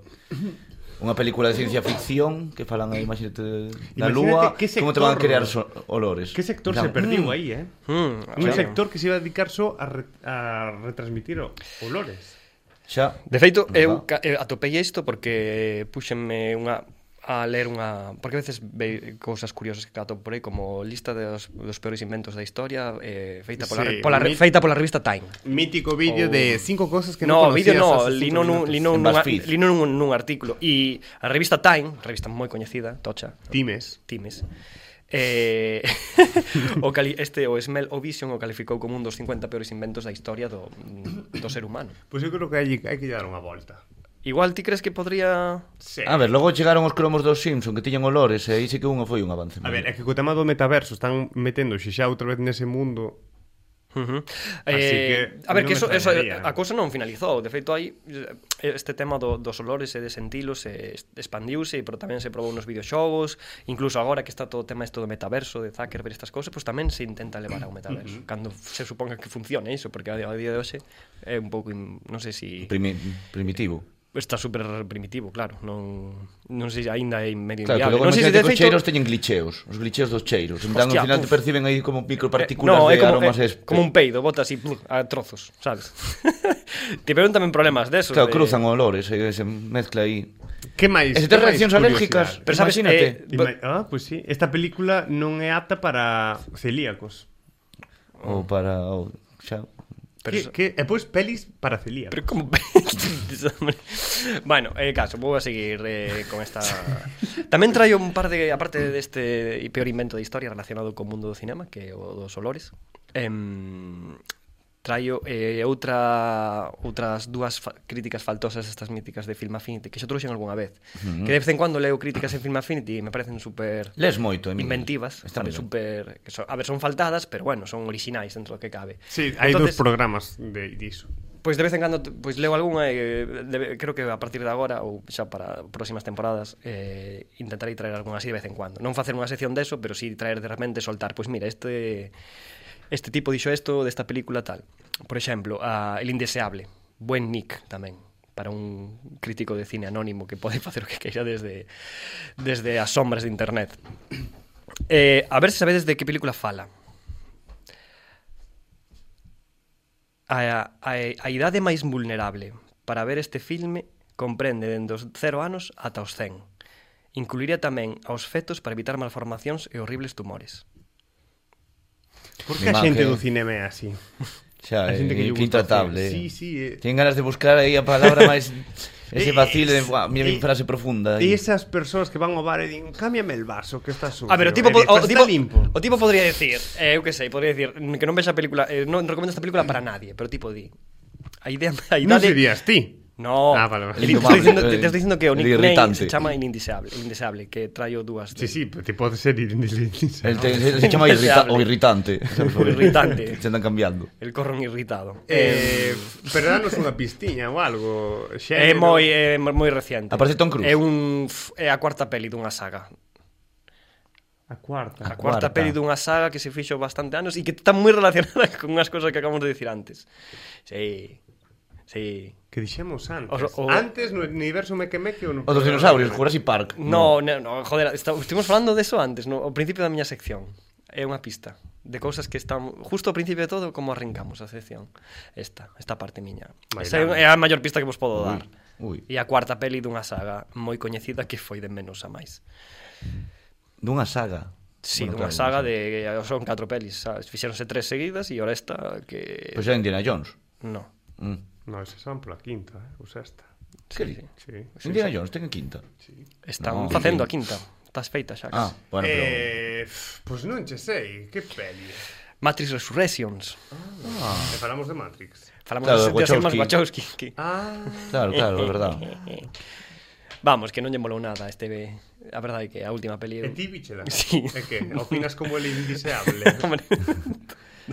unha película de ciencia ficción que falan aí, imagínate, da
Imagínate
lúa,
que
como te
sector-
van a crear so olores.
Que sector
Plan,
se perdiu
"Mm,
aí, eh?
Mm,
Un
claro.
sector que se iba a dedicar só a, re, a retransmitir o- olores.
Xa,
De feito,
Verdad.
eu ca- eh, atopei isto porque púxenme unha a ler unha... Porque a veces ve cousas curiosas que cato por aí como lista dos, dos peores inventos da historia eh, feita, pola,
Sí,
sí, pola, re-
mi-
feita pola revista Time.
Mítico vídeo
Oh.
de cinco cosas que no,
no, o
conocías
vídeo no,
hace
lino
cinco
nun,
minutos.
lino,
En
nun,
BuzzFeed.
lino nun, nun artículo. E a revista Time, revista moi coñecida, tocha,
Times.
Times, eh, o cali, este, o Smell o Vision, o calificou como un dos 50 peores inventos da historia do, do ser humano.
Pois eu creo que hai, hai que lle dar unha volta.
Igual ti crees que podría
Sí.
A ver, logo chegaron os cromos dos Simpson que tiñan olores e aí sí que unha foi un avance.
A ver, é que co tema do metaverso están metendo xa outra vez nese mundo
Ujú.
Así
Eh,
que
a ver,
non
que
me
eso, eso,
extrañaría.
a cousa non finalizou De feito, hai eh, este tema do, dos olores e de sentilos eh, es- Expandiuse, pero tamén se probou nos videoxogos Incluso agora que está todo o tema isto do metaverso De Zuckerberg e estas cousas Pois tamén se intenta levar ao metaverso Cando se suponga que funcione iso Porque a día a día de hoxe é un pouco, in- non sei se si
Primi primitivo.
está super primitivo, claro, non non sei, aínda é medio
Claro, que
inviable.
logo
non sei se
imagínate
de
que os
feito
cheiros teñen glitcheos, os glitcheos dos cheiros. En plan,
Hostia,
ao final te
puf.
perciben aí como
Eh,
micropartículas
No,
de
é como,
aromas
é
espe-
como un peido, bota así pluf, a trozos, sabes? Te preguntan tamén problemas desos.
Claro,
de-
cruzan olores, aí se mezcla aí.
Que máis?
E se
Que
tes
máis
reaccións
curiosidade?
alérgicas,
Pero sabes,
imagínate.
eh,
Ima- Ah, pois sí. Esta película non é apta para celíacos.
Ou para... Ou, xa,
Pero
Pero que,
sa-
que, e pois pelis para celíacos.
Pero como Bueno, eh, caso, vou a seguir eh, con esta Tamén traio un par de aparte deste peor invento de historia relacionado co mundo do cinema, que é o dos olores. Em, traio eh, outra outras dúas fa críticas faltosas estas míticas de Film Affinity que xa trouxen algunha vez. Uh -huh. Que de vez en cuando leo críticas en Film Affinity e me parecen super
les moito, Emilio.
inventivas,
Está
tamén
ben.
super, que son, a ver, son faltadas, pero bueno, son orixinais dentro do que cabe.
Sí, hai
Entonces,
dous programas de diso.
Pois de vez en cando t- pois leo algunha e eh, de, creo que a partir de agora ou xa para próximas temporadas eh, intentarei traer algunha así de vez en cuando. Non facer unha sección deso, pero si traer de repente soltar, pois mira, este este tipo dixo isto desta película tal. Por exemplo, a El indeseable, Buen Nick tamén para un crítico de cine anónimo que pode facer o que queira desde desde as sombras de internet. Eh, a ver se sabedes de que película fala. A, a, a idade máis vulnerable para ver este filme comprende dende os 0 anos ata os 100. Incluiría tamén aos fetos para evitar malformacións e horribles tumores.
Por
Mi
que a
imagen.
xente do cinema é así?
Xa,
Hai
é,
xente que
que
lle gusta
intratable.
hacer. Sí, sí, eh.
Ten ganas de buscar aí a palabra máis... Ese
Eh,
vacile de...
es-
Buah, mira
eh,
mi frase profunda.
E
aí.
esas persoas que van ao bar e din Cámbiame el vaso, que está sucio
A ver, o
E
tipo, po-
dices,
o, tipo,
"Está limpo
o tipo podría decir, eh, eu que sei, podría decir "Mm, que non vexa a película, eh, non recomendo esta película para nadie, pero tipo di, a idea, a
Non
idade...
serías ti
No,
Ah, vale, vale.
el- te estoy
Indomable,
diciendo,
eh,
te, te estoy diciendo que o
el
nickname
irritante.
se chama el indisable, el indisable, que traio dúas
Sí,
de-
sí, pero te pode ser
El
el
te, se, se chama irrita, o irritante.
O irritante.
Se andan cambiando.
el corron irritado.
Eh, pero danos unha pistiña ou algo
É
xénero.
moi é moi reciente.
Aparece Tom Cruise.
É un f- é a cuarta peli dunha saga.
A cuarta
A
cuarta.
cuarta, peli dunha saga que se fixo bastante anos e que está moi relacionada con unhas cousas que acabamos de dicir antes. Sí. Sí.
Que dixemos antes
Os- o-
Antes no universo meque meque ou no
Os dos dinosaurios, Jurassic Park.
No, no, no joder, está, estuvimos falando deso antes, no, ao principio da miña sección. É unha pista de cousas que están justo ao principio de todo como arrancamos a sección. Esta, esta parte miña. Esa é,
Bailando.
é a maior pista que vos podo dar.
Ui.
E a cuarta peli dunha saga moi coñecida que foi de menos a máis.
Dunha saga.
Sí,
Bueno,
bueno, unha
claro,
saga
dunha
de son catro pelis, sabes? Fixéronse tres seguidas e ora esta que
Pois era Indiana Jones.
no.
Mm.
No, esa son pola quinta, eh? ou sexta
Sí, sí.
Sí
Indiana Jones, ten a quinta.
Están
No.
facendo a quinta. Estás feita xa.
Ah,
casi.
bueno, pero...
eh, f- Pois non che sei, que peli
Matrix Resurrections. Ah.
E falamos de Matrix
Falamos
Claro,
claro, de
Wachowski.
Wachowski. Wachowski que...
Ah,
Claro, claro, é verdad.
Vamos, que non lle molou nada este A verdade é que a última peli
e ti bichela
Sí.
É que opinas como el indiseable
Hombre.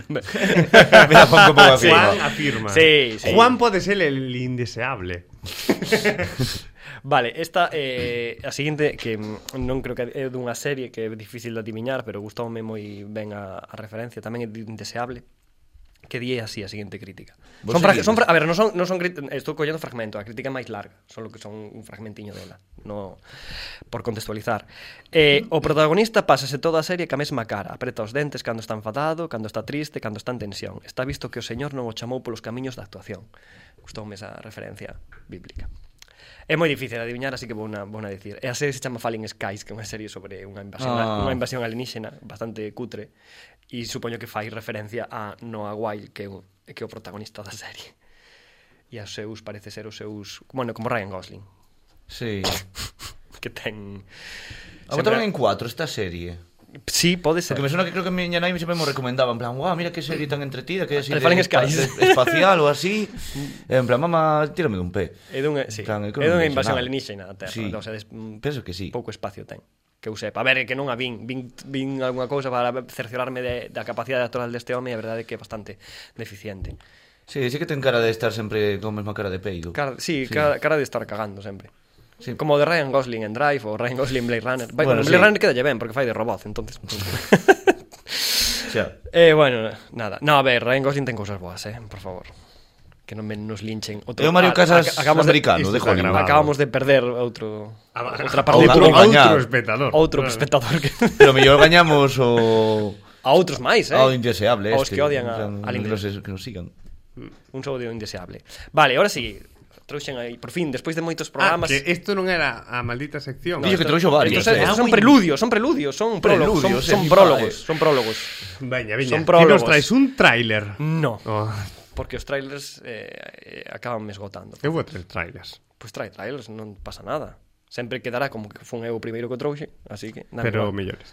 Mira, pon como a
Juan
firma.
afirma.
Sí, sí.
Juan puede ser el indeseable.
Vale, esta eh, a seguinte que mm, non creo que é dunha serie que é difícil de adiviñar, pero gustoume moi ben a, a referencia, tamén é de indeseable. Que di é así a seguinte crítica.
Vos
Son, fra-
seguides.
son fra- a ver, non son, non son crit- estou collendo fragmento, a crítica é máis larga, solo que son un fragmentiño dela, no por contextualizar. Eh, o protagonista pásase toda a serie ca mesma cara, apreta os dentes cando está enfadado, cando está triste, cando está en tensión. Está visto que o señor non o chamou polos camiños da actuación. Gustoume esa referencia bíblica. É moi difícil de adivinar, así que vou na, vou na dicir. E a serie se chama Falling Skies, que é unha serie sobre unha invasión,
Ah.
unha invasión alienígena bastante cutre e supoño que fai referencia a Noah Wild, que é o, que é o protagonista da serie. E aos seus, parece ser os seus... Bueno, como Ryan Gosling,
Sí.
que ten...
A botaron en cuatro esta serie.
Sí, pode ser.
Ah, Porque me suena que creo que a miña nai sempre me recomendaba En plan, guau, mira que serie tan entretida Que é así
Le falen
de-
skies.
de- espacial ou así E En plan, mamá, tírame dun pé
É dunha, sí,
Tan,
é
creo que non me
dunha invasión
sonaba.
alienígena a Terra,
Sí.
o sea, des, mm,
Penso que sí.
Pouco espacio ten, que eu sepa. A ver, que non a vin, vin, vin algunha cousa para cerciorarme de, da capacidade actoral deste home e a verdade é que é bastante deficiente.
Sí, sí que ten cara de estar sempre con a mesma cara de peido
Cara, sí, Cara, cara de estar cagando sempre.
Sí.
Como de Ryan Gosling en Drive ou Ryan Gosling en Blade Runner. Vai,
Bueno,
bueno, Blade
sí.
Runner quedalle ben porque fai de robot, entonces.
Xa.
eh, bueno, nada. No, a ver, Ryan Gosling ten cousas boas, eh, por favor. que non me nos linchen.
É o Mario Casas americano,
isto
de
está
Hollywood.
grabado.
Acabamos de perder outro
Ah,
outra
outro,
parte
Ou-
do
outro,
ou gañar.
espectador.
outro
Claro.
espectador que
Pero mellor gañamos o
a outros máis, eh.
ao indeseable
Aos
este.
que odian a,
Plan,
al
que
inglés.
nos, que nos sigan.
Un saúdo indeseable. Vale, ahora sí. Trouxen aí, por fin, despois de moitos
Ah,
programas.
que isto non era a maldita sección.
Dillo que trouxo varios,
Estos,
eh.
Ah,
estos son preludios, son preludios, son prólogos, son,
Preludios,
son
eh,
prólogos,
vale.
son prólogos.
Veña, veña.
Son
Ti nos
prólogos. Mm.
traes un tráiler.
No,
Oh,
porque os trailers eh, eh, acaban me esgotando.
eu vou traer trailers.
Pois trae trailers, non pasa nada. Sempre quedará como que fun eu o primeiro que o trouxe, así que nada
Pero
igual.
mellores.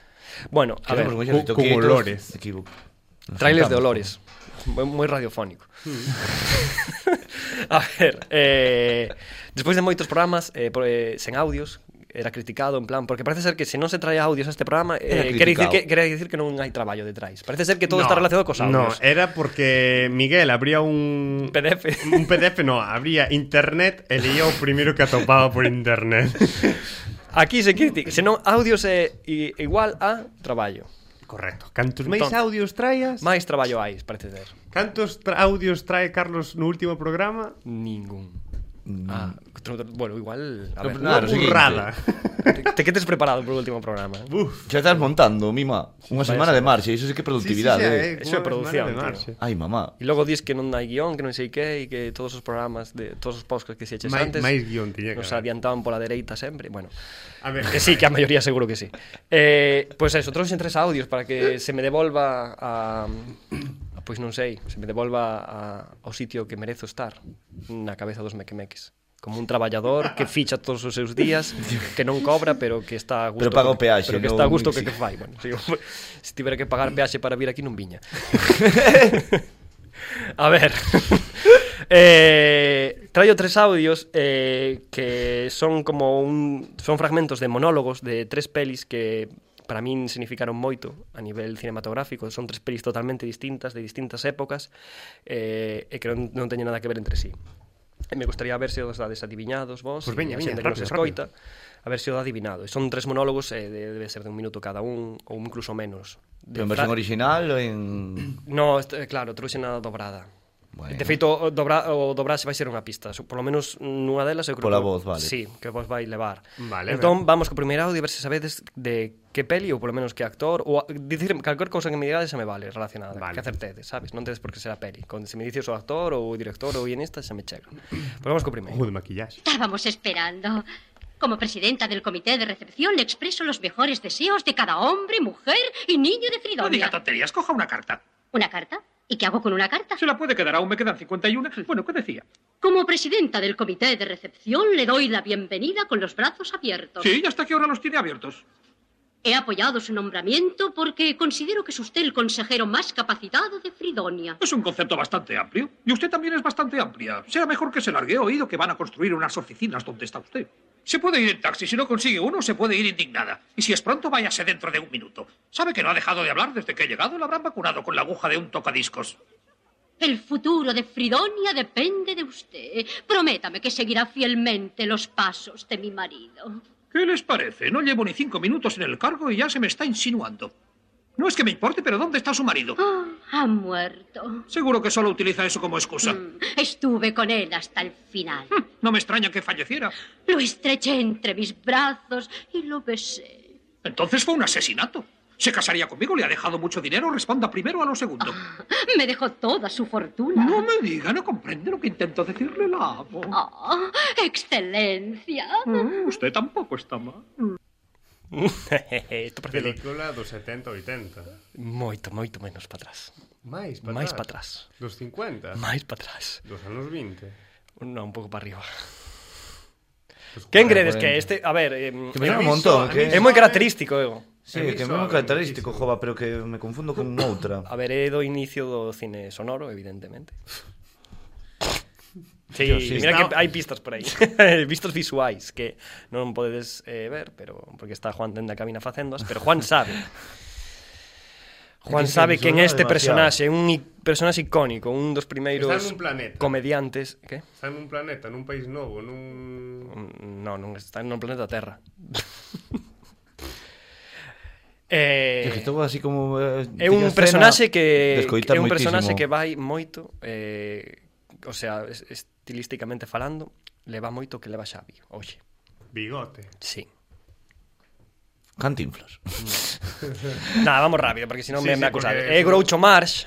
Bueno, a ver,
Queremos un
cu-
exército
con
quietos,
olores.
equivoco.
trailers de olores. Moi, moi radiofónico. a ver, eh, despois de moitos programas eh, por, eh, sen audios, era criticado en plan, porque parece ser que se non se trae audios a este programa,
Era
eh, quere dicir
criticado.
que quere dicir que non hai traballo detrás. Parece ser que todo
No,
está relacionado cos
No, eh.
audios.
era porque Miguel abría un
PDF.
Un PDF no, abría internet e leía o primeiro que atopaba por internet.
Aquí se critica, senón audios é i- igual a traballo.
Correcto. Cantos máis
Entón-
audios traías?
Máis traballo hai, parece ser.
Cantos tra- audios trae Carlos no último programa?
Ningún.
Mm,
Ah, tro- tro- bueno, igual, a ver.
No, Claro,
Unha
sí.
burrada.
Te, te que tes preparado pro último programa. eh?
Buf.
Xa estás montando, mima. Unha semana de marcha, iso sí eh. que é
Sí,
productividade.
sí,
eh.
xa, eh, unha
Eso é producción,
semana de
tío.
marxe.
Ai, mamá.
E logo dis que non hai guión, que non sei que, e que todos os programas, de todos os podcasts que se eches
Máis-
antes...
máis guión tiña que
Nos
haber.
adiantaban pola dereita sempre, bueno...
A ver,
Que sí, que a maioría seguro que sí. Eh, pois pues eso, trouxen tres audios para que se me devolva a, a pois non sei, se me devolva a, ao sitio que merezo estar, na cabeza dos mequemeques. Como un traballador que ficha todos os seus días, que non cobra, pero que está a gusto.
Pero paga o
co-
peaxe,
Pero que
non
está a gusto
exige.
que, que fai. Bueno, se, se tivera que pagar peaxe para vir aquí non viña. A ver. eh, traio tres audios eh, que son como un son fragmentos de monólogos de tres pelis que para min significaron moito a nivel cinematográfico, son tres pelis totalmente distintas de distintas épocas eh, e que non, non teñen nada que ver entre sí. E me gustaría ver se os dades adiviñados vos
Pois
e
veña,
a
veña,
xente que nos
rápido,
escoita a ver se o dá adivinado. E Son tres monólogos, eh, de- debe ser de un minuto cada un ou incluso menos. De
Pero en versión
Fra-
original ou en...
No, este, claro, trouxen a dobrada.
Bueno.
Bueno. De feito, o, dobra, o dobraxe vai ser unha pista. So, Por lo menos nunha delas eu creo
Pola
que...
voz, vale.
Sí, que vos vai levar.
Vale,
entón, vamos co primeiro audio a ver se sabedes de que peli ou polo menos que actor ou a- dicir calquer cousa que me digades xa me vale relacionada,
Vale.
vale. que acertedes, sabes? Non tedes por que ser a peli. Con, se me dices o actor ou o director ou guionista xa me chega. Pois vamos co primeiro.
ojo de maquillaxe.
Estábamos esperando. Como presidenta del comité de recepción le expreso los mejores deseos de cada hombre, mujer y niño de
No
Fridonia.
diga tonterías, coja una carta.
¿Una carta? ¿Y qué hago con una carta?
Se la puede quedar, aún me quedan 51. Bueno, ¿qué decía?
Como presidenta del comité de recepción le doy la bienvenida con los brazos abiertos.
Sí, ¿y hasta qué hora los tiene abiertos?
He apoyado su nombramiento porque considero que es usted el consejero más capacitado de Fridonia.
Es un concepto bastante amplio. Y usted también es bastante amplia. Será mejor que se largue. He oído que van a construir unas oficinas donde está usted. Se puede ir en taxi. Si no consigue uno, se puede ir indignada. Y si es pronto, váyase dentro de un minuto. ¿Sabe que no ha dejado de hablar desde que ha llegado? La habrán vacunado con la aguja de un tocadiscos.
El futuro de Fridonia depende de usted. Prométame que seguirá fielmente los pasos de mi marido.
¿Qué les parece? No llevo ni cinco minutos en el cargo y ya se me está insinuando. No es que me importe, pero ¿dónde está su marido?
Ah, ha muerto.
Seguro que solo utiliza eso como excusa.
Mm, Estuve con él hasta el final.
No me extraña que falleciera.
Lo estreché entre mis brazos y lo besé.
Entonces fue un asesinato. Se casaría conmigo, le ha dejado mucho dinero, responda primero a lo segundo.
Me dejó toda su fortuna.
No me diga, no comprende lo que intento decirle, la amo.
Ah, excelencia.
Mm, Usted tampoco está mal.
Isto parece
Película dos 70 80.
moito, moito menos para atrás.
Mais para
Máis
atrás.
para atrás.
Dos 50.
Máis para atrás.
Dos anos 20.
Non, un pouco para arriba.
Dos
Que engredes
40.
que este, a ver, eh,
Que me eh. llama
Aviso,
un montón,
aviso.
que...
é moi característico, ego.
É
Sí,
moi
que é
suave,
moi característico,
moitísimo.
jova, pero que me confundo con outra.
A ver, é do inicio do cine sonoro, evidentemente. Sí,
Yo sí.
mira
Está-
que hai pistas por aí. Vistos visuais que non podedes eh, ver, pero porque está Juan dende a cabina facéndoas, pero Juan sabe.
Es
Juan
que
sabe
me
que en
sonaba
este
demasiado.
personaxe, é un i- personaxe icónico, un dos primeiros
Está nun planeta.
comediantes, que?
Está nun planeta, nun país novo, nun...
Mm, No, non está no planeta Terra. eh,
É que estou así como... eh,
É
teño
un
a escena
personaxe que
de escoitar
é un
moitísimo.
personaxe que vai moito eh o sea, es- estilísticamente falando, leva moito que leva Xavi, oxe.
Bigote.
Sí.
Cantinflas.
Nada, vamos rápido, porque si non
Sí,
me,
sí,
me acusade.
porque-
É Groucho Marx,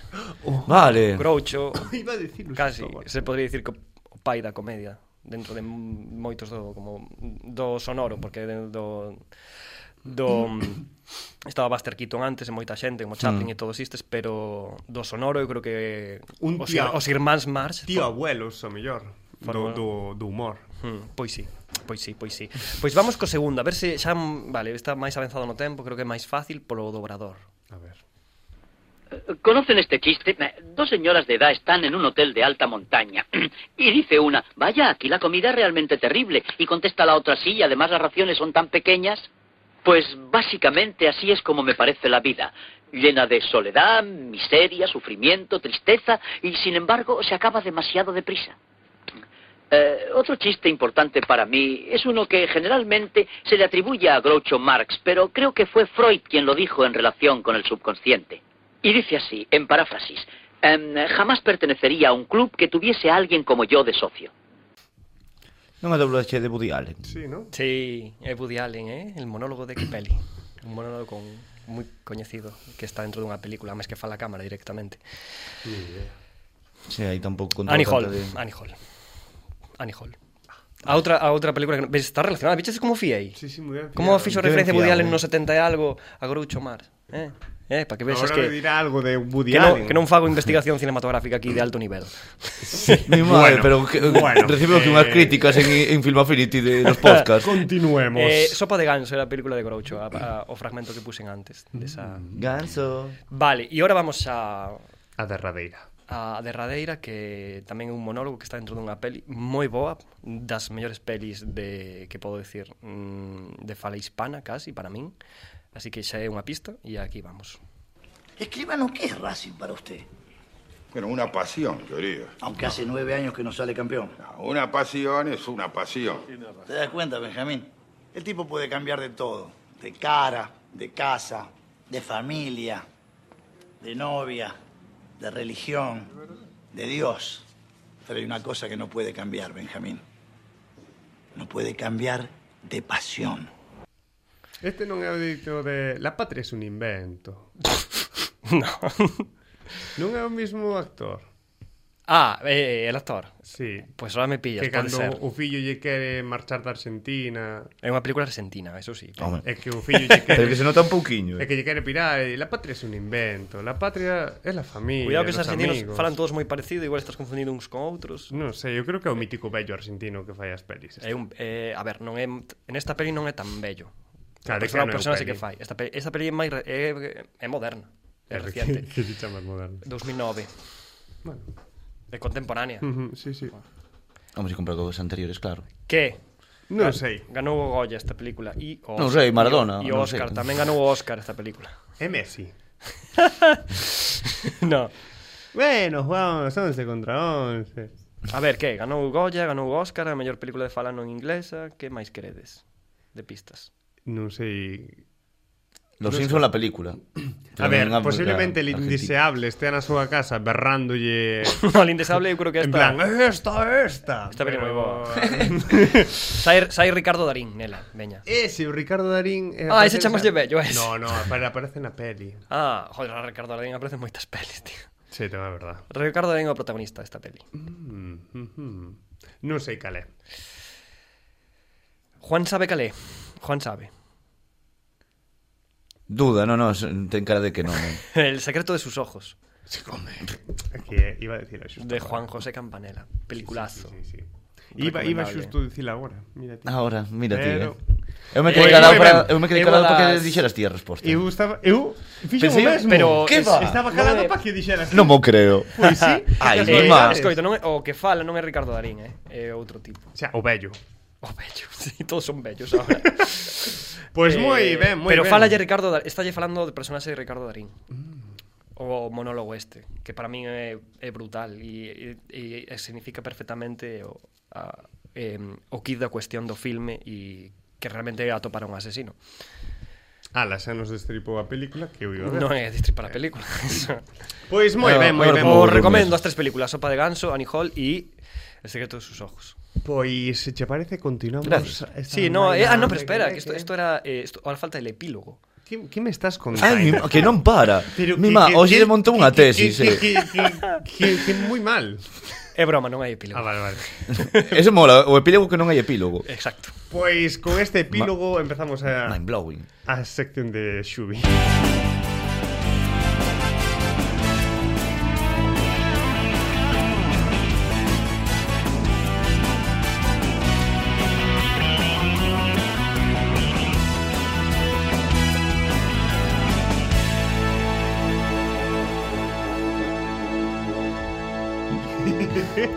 Vale.
Groucho,
Iba a decirlo.
casi,
por favor.
se podría dicir que o pai da comedia dentro de m- moitos do como do sonoro, porque de- do do estaba Buster Keaton antes e moita xente, como Chaplin e todos estes, pero do sonoro eu creo que
Un
os,
tío-
os irmáns Marx
Tío abuelos, o mellor. Do, do, do humor.
Hmm, pois sí, pois sí, pois sí. Pois vamos co segundo, a ver se xa, vale, está máis avanzado no tempo, creo que é máis fácil polo dobrador.
A ver.
¿Conocen este chiste? Dos señoras de edad están en un hotel de alta montaña. Y dice una, vaya, aquí la comida es realmente terrible. Y contesta la otra, sí, y además las raciones son tan pequeñas. Pues básicamente así es como me parece la vida. Llena de soledad, miseria, sufrimiento, tristeza, y sin embargo se acaba demasiado deprisa. Eh, otro chiste importante para mí es uno que generalmente se le atribuye a Groucho Marx, pero creo que fue Freud quien lo dijo en relación con el subconsciente. Y dice así, en paráfrasis, em, jamás pertenecería a un club que tuviese a alguien como yo de socio.
Non é doblaxe de Woody Allen.
Sí, ¿no?
Sí, é Woody Allen, eh? El monólogo de que peli? Un monólogo con moi coñecido que está dentro dunha película, máis que fala a cámara directamente.
Sí, aí tampouco contou
Annie Hall,
tanto de-
Annie Hall. Annie Hall. A outra, a outra película que non- ves, está relacionada, biches como fiei.
Sí, sí, muy bien.
Como fixo
que
referencia
ben
Woody
fiado,
Allen
eh.
no 70 e algo a Groucho Marx, eh? Eh, para que vexas
Ahora me
que
dirá algo de Woody
que non,
Allen.
que non fago investigación cinematográfica aquí de alto nivel.
Mi madre,
Bueno,
pero que,
bueno,
recibo aquí
eh.
unhas críticas en, en Film Affinity de los podcasts.
Continuemos.
Eh, Sopa de ganso era a película de Groucho, a, a, o fragmento que puxen antes desa.
Mm.
Ganso.
Vale, e ahora vamos a
A derradeira.
a derradeira que tamén é un monólogo que está dentro dunha peli moi boa, das mellores pelis de que podo decir, mm, de fala hispana casi para min. Así que xa é unha pista e aquí vamos.
Escribano, ¿qué es Racing para usted?
Bueno, una pasión, querido.
Aunque hace nueve años que no sale campeón.
Una pasión es una pasión.
¿Te das cuenta, Benjamín? El tipo puede cambiar de todo. De cara, de casa, de familia, de novia, de religión, de Dios. Pero hay una cosa que no puede cambiar, Benjamín. No puede cambiar de pasión.
Este non é o dito de... La patria es un invento.
no.
Non é o mismo actor.
ah, eh, el actor.
Sí.
Pois pues ahora me pillas,
Que
pode
cando
ser.
o fillo lle quere marchar da Argentina...
É unha película argentina, eso sí.
Home,
pero-
É que o fillo lle
pero
quere...
que se nota un
É
pouquiño. Eh.
que lle quere pirar e la patria es un invento. La patria é la familia,
Cuidado que
los
os argentinos
amigos.
falan todos moi parecido, igual estás confundindo uns con outros.
Non sei, eu creo que é o mítico bello argentino que fai as pelis.
É un, eh, a ver, non é en esta peli non é tan bello.
Claro, que non é
Claro, persona,
un
persona sí
peli.
que fai. Esta peli, esta peli é máis re- é, é moderna, é reciente,
Que se chama moderno.
2009.
Bueno.
É contemporánea.
Ujú, Sí, sí.
Vamos a comprar cos anteriores, claro.
Que
Non sei.
ganou o Goya esta película e o
Non sei, Maradona,
E o
non sei.
Oscar, tamén ganou o Oscar esta película.
É Messi.
no.
Bueno, vamos, 11 contra 11.
A ver, que ganou o Goya, ganou o Oscar, a mellor película de fala non inglesa, que máis queredes? De pistas.
Non sei...
Los Simpson la película.
A
Pero
ver,
non é unha
posiblemente el
película
indeseable estea na súa casa berrándolle...
No, Lindesable eu creo que
en
esta
plan, esta, esta.
Esta peli moi boa.
Pero-
sai, sai Ricardo Darín nela, veña.
Ese, o Ricardo Darín... eh,
Ah,
aparece-
ese chamaslle bello, ese.
No, no, apare- aparece na peli.
Ah, joder, a Ricardo Darín aparece en moitas pelis, tío.
Sí, tamén é verdad.
Ricardo Darín é o protagonista desta peli.
Mm, mm, mm. Non sei cal é.
Juan sabe calé. Juan sabe.
Duda, no, no, se- ten cara de que non. eh.
El secreto de sus ojos,
Se come. Aquí eh, iba a decirlo xusto.
de Juan José Campanella. Peliculazo.
Sí, sí. Iba, iba
Recomendable. Ah,
xusto dicir agora. Mira, tío.
Ahora, mira ti, eh.
Pero-
Eu me
Eh,
quedei
moi
calado
ben.
para, eu me quedei
Eu
calado
das-
para que dixeras ti a resposta.
Eu estaba... Eu... Fixo o
Pensei-
mesmo.
pero
Que
Que es- va?
Estaba calado
No me-
para que dixeras.
Non mo creo.
Pois sí.
Ai,
que
Eh,
Eh,
ma.
escoito, non é, o que fala non é Ricardo Darín, eh? é outro tipo.
O sea, o Oh, bello.
O bello, sí, todos son bellos ahora.
Pois pues
Eh,
moi ben, moi
Pero
ben.
falalle Ricardo Darín, estalle falando de personaxe de Ricardo Darín.
Mm.
O monólogo este, que para min é, é brutal e, e, e significa perfectamente o, a, eh, o kit da cuestión do filme e que realmente atopar a un asesino.
Ala, xa nos destripou a película que eu iba a ver.
Non é destripar a película.
Pois
Ah,
moi ben, moi ben.
Os recomendo as tres películas, Sopa de Ganso, Annie Hall e El secreto de sus ojos.
Pois, se che parece, continuamos. esta
Sí, no, eh,
mañá,
ah, no, pero
hombre,
espera,
que-
que esto, esto era eh, esto, ahora falta el epílogo.
Que, que me estás contando?
Ai, mi, que non para.
Pero
mi
que-
má,
que-
hoxe
que-
desmontou unha
que-
tesis,
que-
eh.
que- que- que- que moi mal.
É broma, non hai epílogo.
Ah, vale, vale.
Eso mola, o epílogo que non hai epílogo.
Exacto.
Pois con este epílogo empezamos a,
Mind blowing.
a sección de Xubi.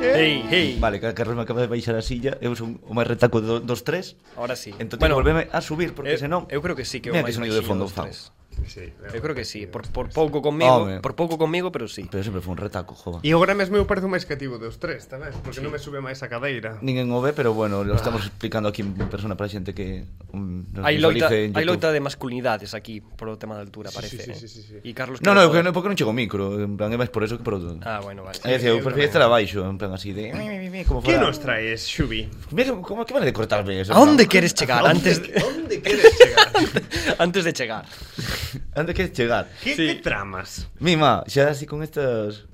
Hey, hey.
Vale, que Carlos me acaba de baixar a silla, eu son o máis retaco do, dos tres.
Ahora sí.
Entón, bueno, volveme a subir, porque
eu-
senón...
eh, eu creo que sí que é o
Mira
máis
que sonido de
baixinho
fondo,
dos
Fau.
tres.
Sí,
Eu creo que sí, por, por pouco comigo,
Home.
por pouco comigo, pero sí.
Pero sempre foi un retaco, jova.
E agora mesmo eu parece o máis cativo dos tres, tamén, porque sí. non me sube máis a cadeira.
Ninguén o ve, pero bueno, lo estamos explicando aquí en persona para a xente que um, nos
Hai loita,
visualice en
hai
YouTube.
loita de masculinidades aquí polo tema da altura,
Sí,
parece.
sí,
eh.
sí, sí, sí.
E Carlos
No, no, que
creo
non, porque non chego o micro, en plan é máis por eso que por outro.
Ah, bueno, vale.
É dicir, eu
eu
prefiro
tamén.
estar abaixo, en plan así de... "Mi, mi, mi, mi", Como
Que
fuera-
nos traes, Xubi?
Mira, que- como que van de cortarme eso.
A onde
plan.
queres chegar
¿A
antes
onde-
de...
Onde queres chegar?
antes de chegar?
Antes queres chegar.
Que, sí. que tramas?
Mima, xa así con estas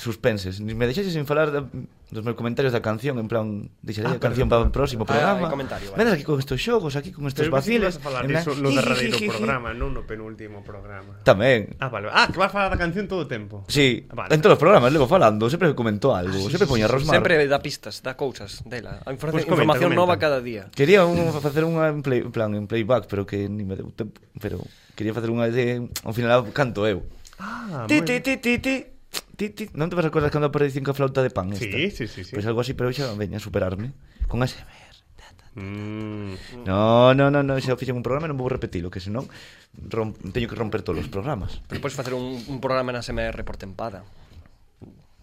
suspenses. Ni Me deixaxe sin falar da, dos meus comentarios da canción, en plan,
Ah,
deixarei ah, a canción para o próximo
Ah,
programa.
el comentario, vale.
Vendes aquí con estos xogos, aquí con estos
Pero que si vas
vaciles.
a falar
en plan,
diso no
"Ji, ji,
derradeiro
ji, ji".
programa, non no penúltimo programa.
Tamén.
Ah, vale. Ah, que vas a falar da canción todo o tempo.
Sí,
Ah, Vale.
vale. en todos os programas levo falando, sempre comento algo, ah, sí, sempre poño a Rosmar.
Sempre dá pistas, dá cousas dela. A
Pois
información,
comenta,
información
comenta.
nova cada día.
Quería un, facer unha en, play, en plan en playback, pero que ni me deu tempo, pero quería facer unha de ao final canto eu.
Ah,
Ti
moi
ti
ben.
ti ti ti. Ti ti, non te vas a acordar cando aparecín coa flauta de pan esta?
Sí, sí, sí, sí.
Pois algo así, pero xa veña a superarme con ASMR.
Mm.
No, no, no, no, xa fixen un programa e non vou repetilo, que senón rom... teño que romper todos os programas.
Pero podes facer un, un programa na SMR por tempada.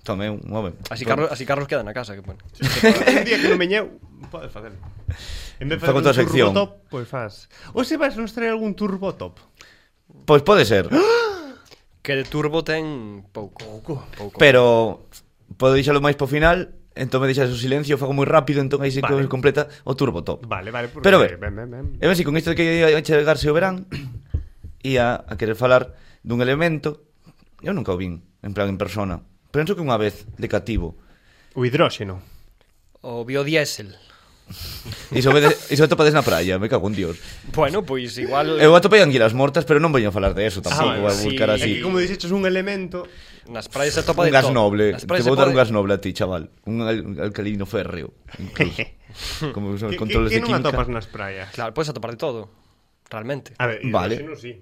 Tome un home.
Así Carlos, así Carlos queda na casa, que bueno.
un día que non veñeu, podes facelo. En vez de
Fa
facer
con
un
toda a sección.
turbotop, pois faz. Ou se vas nos traer algún turbotop.
Pois pode ser,
Que de turbo ten pouco. Pouco. pouco.
pero podo deixalo máis po final, entón me deixas o silencio, fago moi rápido, entón aí se
Vale.
vale. completa o turbo top.
Vale, vale. Porque...
Pero ve,
Ben, ben, ben.
eu así, con isto de que ia chegarse o verán ia a querer falar dun elemento eu nunca o vin, en plan, en persona penso que unha vez, de cativo
O hidróxeno.
O biodiesel.
iso, vede, iso atopades na praia, me cago en dios
Bueno, pois igual
eu atopei anguilas mortas, pero non veño a falar de eso tampouco,
Sí,
vou
sí.
buscar
É
así
que como dixeches un elemento,
nas praias se topa
un
de
gas
todo.
noble,
Nas
te
praias se
vou dar un
pode-
gas noble a ti, chaval un, al, un alcalino férreo incluso. como son
que, que,
controles
que
de
non
química
atopas nas praias.
Claro, podes atopar de todo. Realmente.
A ver, eh,
Vale.
hidróxeno sí.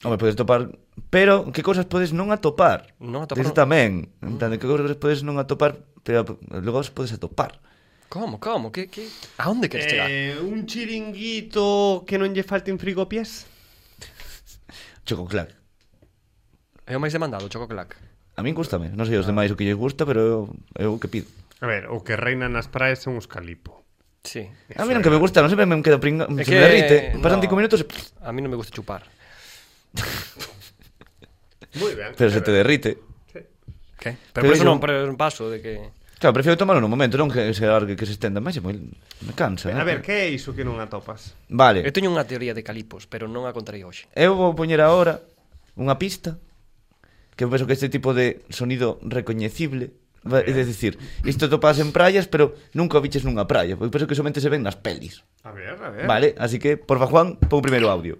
Home, podes topar, pero que cousas podes non atopar?
Non atopar
Eso
non.
tamén, en plan, de que cousas podes non atopar, pero logo as podes atopar.
Como, como? Que, que... A onde queres chegar?
Eh, un chiringuito que non lle falten frigopias?
Choco clac.
É o máis demandado, Choco Clac.
A min gustame, non sei os demais o que lles gusta, pero eu, eu o que pido.
A ver, o que reina nas praias son os calipo.
Sí.
A mí non que me gusta, non sempre me quedo pringa, se me derrite. Pasan cinco minutos e...
A mí non me gusta chupar.
Moi ben.
Pero se te derrite.
Que? Pero,
Pero
por iso
yo-
non, pero é un paso de que...
Claro, prefiero tomarlo nun momento, non que se largue, que se estenda máis, e moi... me cansa.
A
eh.
ver, que é iso que non atopas?
Vale,
Eu teño unha teoría de calipos, pero non a contarei hoxe.
eu vou poñer agora unha pista que eu penso que este tipo de sonido recoñecible va- É dicir, isto topas en praias, pero nunca o viches nunha praia. Eu penso que somente se ven nas pelis.
A ver, a ver.
Vale, así que, porfa, Juan, pon primeiro audio.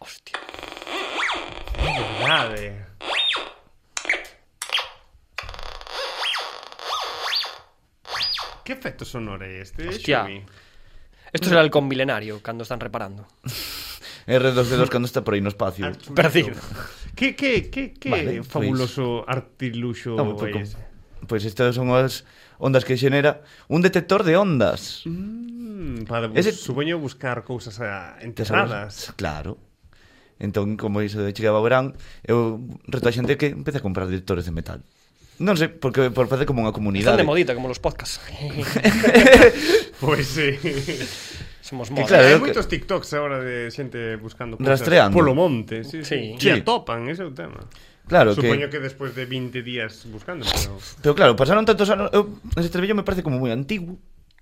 Hostia.
Verdade. Que efecto sonoro é este,
Hostia.
Xumi?
Isto será el con milenario, cando están reparando.
R2D2 cando está por aí no espacio.
Archumito.
Perdido.
Que, que, que, que
Vale, pois.
fabuloso artiluxo é
Non, pois,
ese?
pois estas son as ondas que xenera un detector de ondas.
Mm, para bus,
Ese-
supoño buscar cousas ah,
Te sabes?
enterradas.
Claro. Entón, como iso de chegaba o verán, eu reto a xente que empece a comprar detectores de metal. Non sei, porque por facer como unha
Están
comunidade.
de modita, como los podcasts.
Pois sí.
Somos
Que
moda.
claro,
Hai
eu
moitos TikToks agora de xente buscando
Rastreando.
polo monte, sí,
Sí.
sí. Que
Sí.
atopan, ese é o tema.
Claro que-
Supoño que... despois de 20 días buscando, pero
Pero claro, pasaron tantos anos, eu, ese Trevello me parece como moi antiguo,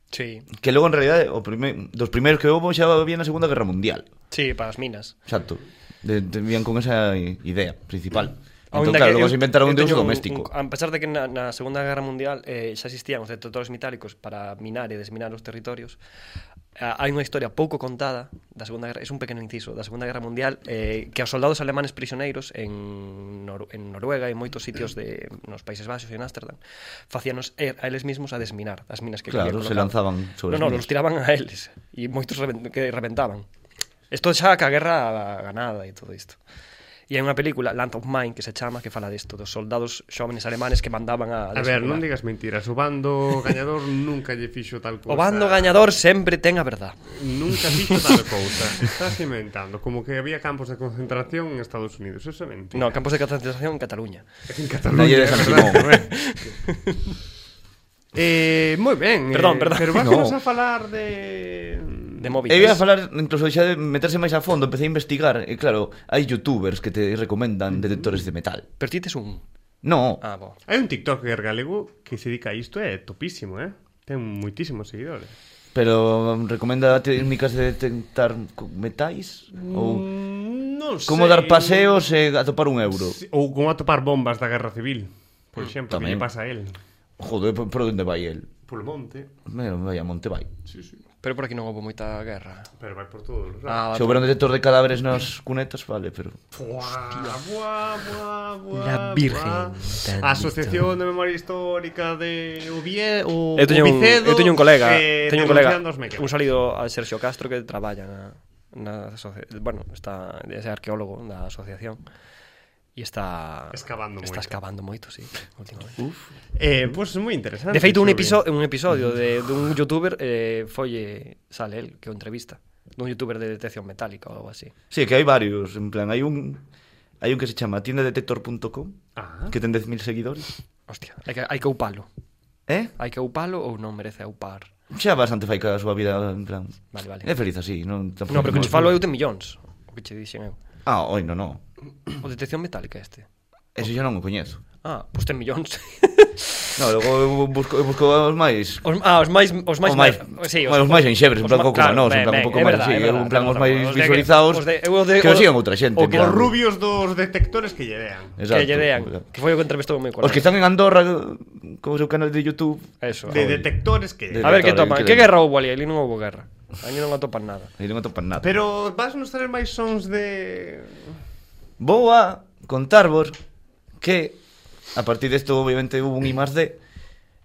Sí,
que logo en realidad o prime, dos primeiros que houve xa había na Segunda Guerra Mundial.
sí, para as minas.
Exacto. De, de, vían con esa i- idea principal. Entón,
Aínda
claro,
que
logo
eu-
se inventaron
eu
un deus
teño
doméstico.
un- a pesar de que na, na Segunda Guerra Mundial eh, xa existían os detectores metálicos para minar e desminar os territorios, ah, hai unha historia pouco contada da Segunda Guerra, é un pequeno inciso, da Segunda Guerra Mundial eh, que aos soldados alemanes prisioneiros en, Nor en Noruega e en moitos sitios de nos Países Baixos e en Ámsterdam facíanos er, a eles mismos a desminar as minas que
Claro,
querían
se
colocar.
lanzaban sobre as
no, no,
minas.
los tiraban a eles e moitos reven que reventaban. Isto xa ca guerra ganada e todo isto. E hai unha película, Land of Mine, que se chama, que fala disto, dos soldados xóvenes alemanes que mandaban a...
a ver, non digas mentiras, o bando gañador nunca lle fixo tal cousa.
O bando gañador sempre ten a verdad.
Nunca fixo tal cousa. Estás inventando como que había campos de concentración en Estados Unidos, eso é mentira.
No, campos de concentración en Cataluña.
En Cataluña,
Taller
é
de San
verdad.
Simón.
eh, moi ben.
Perdón,
eh,
perdón.
Pero vamos
No.
a falar de
De móviles.
E ia falar, incluso xa de meterse máis a fondo, empecé a investigar, e claro, hai youtubers que te recomendan
Mm.
detectores de metal.
Pero ti tes un...
No,
Ah, bo.
Hai un TikToker galego que se dedica a isto e é topísimo, eh? Ten moitísimos seguidores.
pero um, recomenda técnicas de detectar co- metais ou
Mm,
Non sei.
como dar paseos e atopar un euro.
Ou como atopar bombas da Guerra Civil,
Mm,
por exemplo, que
Tamén.
lle pasa a él.
Joder, por, por onde vai el?
Polo monte.
Mira, vai a monte vai.
Pero por aquí non houve moita guerra.
Pero vai por todo. Ah.
Ah,
Se houber un detector de cadáveres nas cunetas, vale, pero...
Buá, buá, buá, buá,
La
buá.
Virgen tan
Asociación de Memoria Histórica de Ovie, o,
eu teño un,
Ovicedo,
eu teño un colega,
eh,
teño un colega,
denunciando os mecanos.
un salido a Sergio Castro que traballa na, na asoci- bueno, está é arqueólogo da asociación e está
Escavando
está
moito.
escavando moito, sí, últimamente.
Eh, pois pues, moi interesante.
De feito, un
sobre-
episodio, un episodio de, dun youtuber eh, foi eh, sale el que o entrevista dun youtuber de detección metálica ou algo así.
Sí, que hai varios, en plan, hai un... Hai un que se chama tiendadetector.com
Ah.
Que ten 10.000 seguidores
Hostia, hai que, hai que upalo.
Eh?
Hai que upalo ou non merece upar.
Xa bastante fai cada súa vida, en plan
Vale, vale.
É feliz así, non? Tampouco
No, pero que
moi-
nos falo eu ten millóns, o que che dixen eu.
Ah, oi, non, non
O detección metálica este.
Ese xa non o coñezo
Ah, pois ten millóns.
No, logo eu busco, eu busco os máis
Os, ah, os máis os máis
Os máis-
mer- sí,
bueno, os máis enxebres, en plan
ma-
como nós, en plan un pouco
é
máis así,
verdade, é
en
verdade,
plan
temos
os máis
razón, de-
visualizados
os de, eu de,
que
o-
os sigan outra xente,
o que-
Os
claro.
rubios dos detectores que lle dean.
Que lle dean, que foi o que entrevistou o meu colega.
Os que están en Andorra Con o seu canal de Youtube
Eso.
De detectores que
Ah, De-
lle
a ver que
detectores, que
topan. Que
le-
guerra houbo ali? Ali non houbo guerra. Ali non atopan nada.
E non atopan nada
Pero vas nos traer máis sons de...
Vou a contarvos que a partir desto obviamente hubo un I más D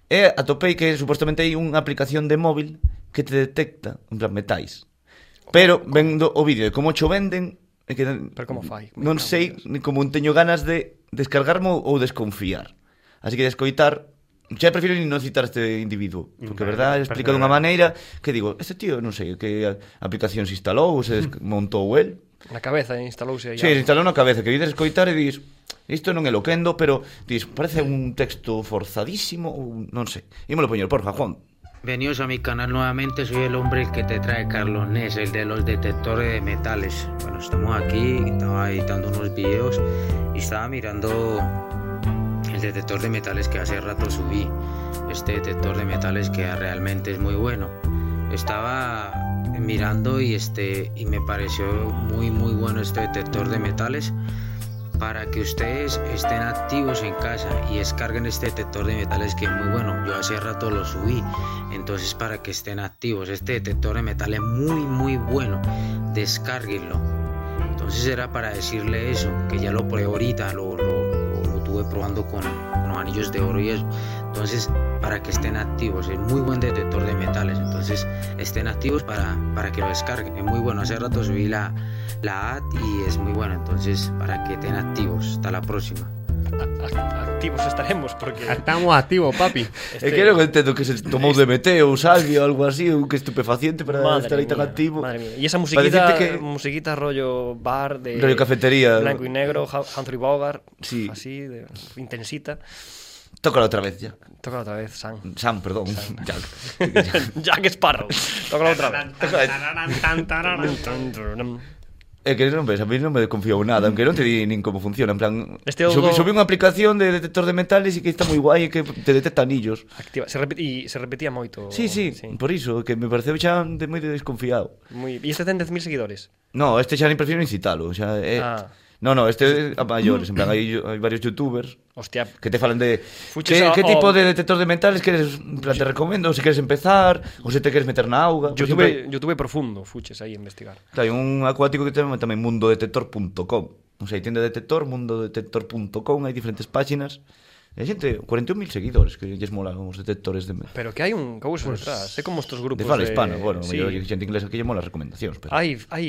e atopei que supostamente hai unha aplicación de móvil que te detecta en plan metais. Pero vendo o vídeo de como cho venden e que
Pero como fai?
Non sei ni como teño ganas de descargarmo ou desconfiar. Así que de escoitar Xa prefiro ni non citar este individuo Porque, a
Vale,
verdad, explica
perfecto.
dunha maneira Que digo, este tío, non sei Que a- aplicación se instalou, se desmontou el
Na cabeza eh, instalouse aí.
Sí,
algo.
instalou na cabeza que vides escoitar e dis Isto non é loquendo, pero dis Parece un texto forzadísimo ou non sei Ímolo poñer, porfa, Juan
Bienvenidos a mi canal nuevamente, soy el hombre que te trae Carlos Nes, el de los detectores de metales. Bueno, estamos aquí, estaba editando unos videos y estaba mirando el detector de metales que hace rato subí. Este detector de metales que realmente es muy bueno. Estaba mirando y este y me pareció muy muy bueno este detector de metales para que ustedes estén activos en casa y descarguen este detector de metales que es muy bueno. Yo hace rato lo subí, entonces para que estén activos. Este detector de metal es muy muy bueno, descárguenlo. Entonces era para decirle eso, que ya lo probé ahorita, lo, lo, lo- lo tuve probando con, con los anillos de oro y eso. Entonces, para que estén activos, es muy buen detector de metales. Entonces, estén activos para, para que lo descarguen. Es muy bueno. Hace rato subí la, la ad y es muy bueno. Entonces, para que estén activos. Hasta la próxima.
A- Activos estaremos porque
Estamos activo, papi.
E que non entendo que se tomou DMT ou salvia ou algo así Ou que estupefaciente para
Madre
estar aí tan
mía,
activo
Madre mía. Y esa
Para
musiquita,
decirte que-
musiquita rollo bar de
Rollo cafetería.
blanco y negro, Ha- Humphrey Bogart,
Sí.
así de, intensita.
Tócalo otra vez ya.
Tócalo otra vez, Sam.
Sam, perdón. Jack.
Jack Sparrow. Tócalo otra vez.
É que non ves, a mí non me desconfío nada, aunque non te di nin como funciona, en plan...
Este
subí,
outro-
subí unha aplicación de detector de metales e que está moi guai e que te detecta anillos.
Activa. Se, repeti, e se repetía moito.
Sí, sí, por iso, que me pareceu xa de moi de desconfiado.
Moi... E este ten 10.000 seguidores.
No, este xa ni prefiero incitalo, xa... Eh,
Ah.
No, no, este é a maiores, en plan, hai, hai varios youtubers
Hostia.
que te falan de
Fuches
que,
a-
que
ao-
tipo de detector de metales queres, en plan, te recomendo se queres empezar, ou se te queres meter na auga.
Yo
Por
tuve,
exemplo,
yo tuve profundo, fuches aí a investigar.
Hai un acuático que ten tamén mundodetector.com Non sei, tienda detector, mundodetector.com Hai diferentes páxinas E hai xente, 41.000 seguidores Que lles mola os detectores de, de
Pero que hai un couso pues, detrás. É como estos grupos
fala hispana Bueno,
sí.
mellor hai xente inglesa que lle mola as recomendacións pero...
Hai, hai,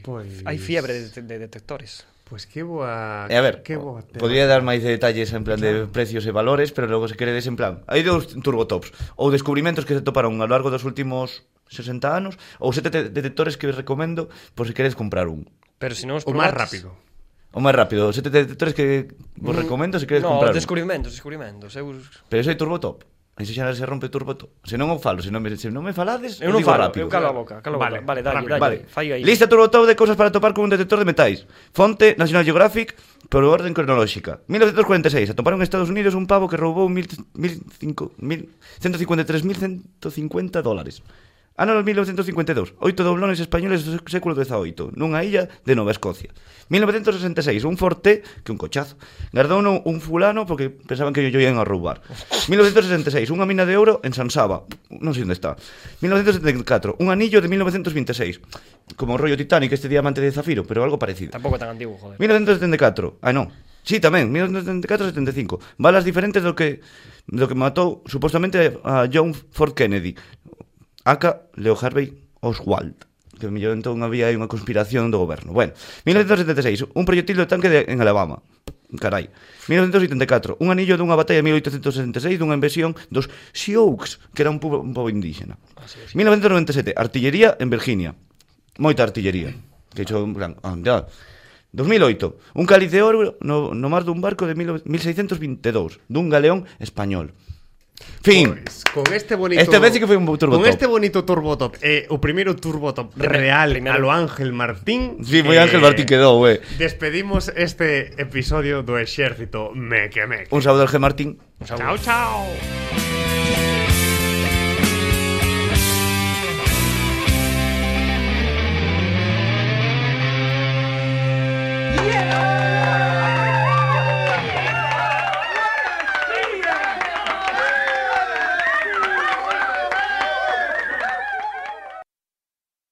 Pois-
hai fiebre de, de detectores.
Pues qué boa...
E Eh, a ver,
qué boa tema.
podría dar máis detalles en plan de precios e valores, pero logo se queredes en plan, hai dous turbotops, ou descubrimentos que se toparon ao largo dos últimos 60 anos, ou sete te- detectores que vos recomendo por se queredes comprar un.
Pero se non os
O más
probades-
rápido.
O máis rápido, sete detectores que vos recomendo se queredes
Mm. no,
comprar un.
descubrimentos, descubrimentos. Eu,
Pero ese é turbotop. Ese xa se rompe turbotop. Se non o falo, se non me, se non me falades,
eu non
digo
falo,
rápido.
eu calo a boca, calo a
Vale,
boca. Vale, dalle,
rápido.
dalle.
Vale.
Fai aí.
Lista turbotop de cousas para topar con un detector de metais. Fonte National Geographic por orden cronolóxica. 1946, atoparon en Estados Unidos un pavo que roubou 153.150 dólares. Ano 1952, oito doblones españoles do século XVIII, nunha illa de Nova Escocia. 1966, un forte, que un cochazo, gardouno un fulano porque pensaban que yo iban a roubar. 1966, unha mina de ouro en Sansaba, non sei onde está. 1974, un anillo de 1926, e como o rollo Titanic, este diamante de zafiro, pero algo parecido.
Tampouco é tan antigo, joder.
1974. Ah, non. Sí, tamén, 1974-75. Balas diferentes do que do que matou supostamente a John Ford Kennedy. Aka Leo Harvey Oswald. Que mellor entón había aí unha conspiración do goberno. Bueno, 1976, un proyectil do tanque de, en Alabama. Carai. 1984, un anillo dunha batalla de 1866 dunha invasión dos Sioux, que era un pobo, un pobo indígena. 1997, artillería en Virginia. Moita artillería. Que hecho, en plan, ah, ya. 2008, un cáliz de ouro no, no mar dun barco de 19- 1622 dun galeón español. Fin.
Pois, con este bonito
Esta vez sí que foi un turbotop.
Con este bonito turbotop, eh, o primeiro turbotop real
primero.
a lo Ángel Martín.
Sí, foi Ángel Martín que dou, eh.
Despedimos este episodio do Exército Meque Meque.
Un saúdo Ángel Martín.
Chao, chao.
Yeah!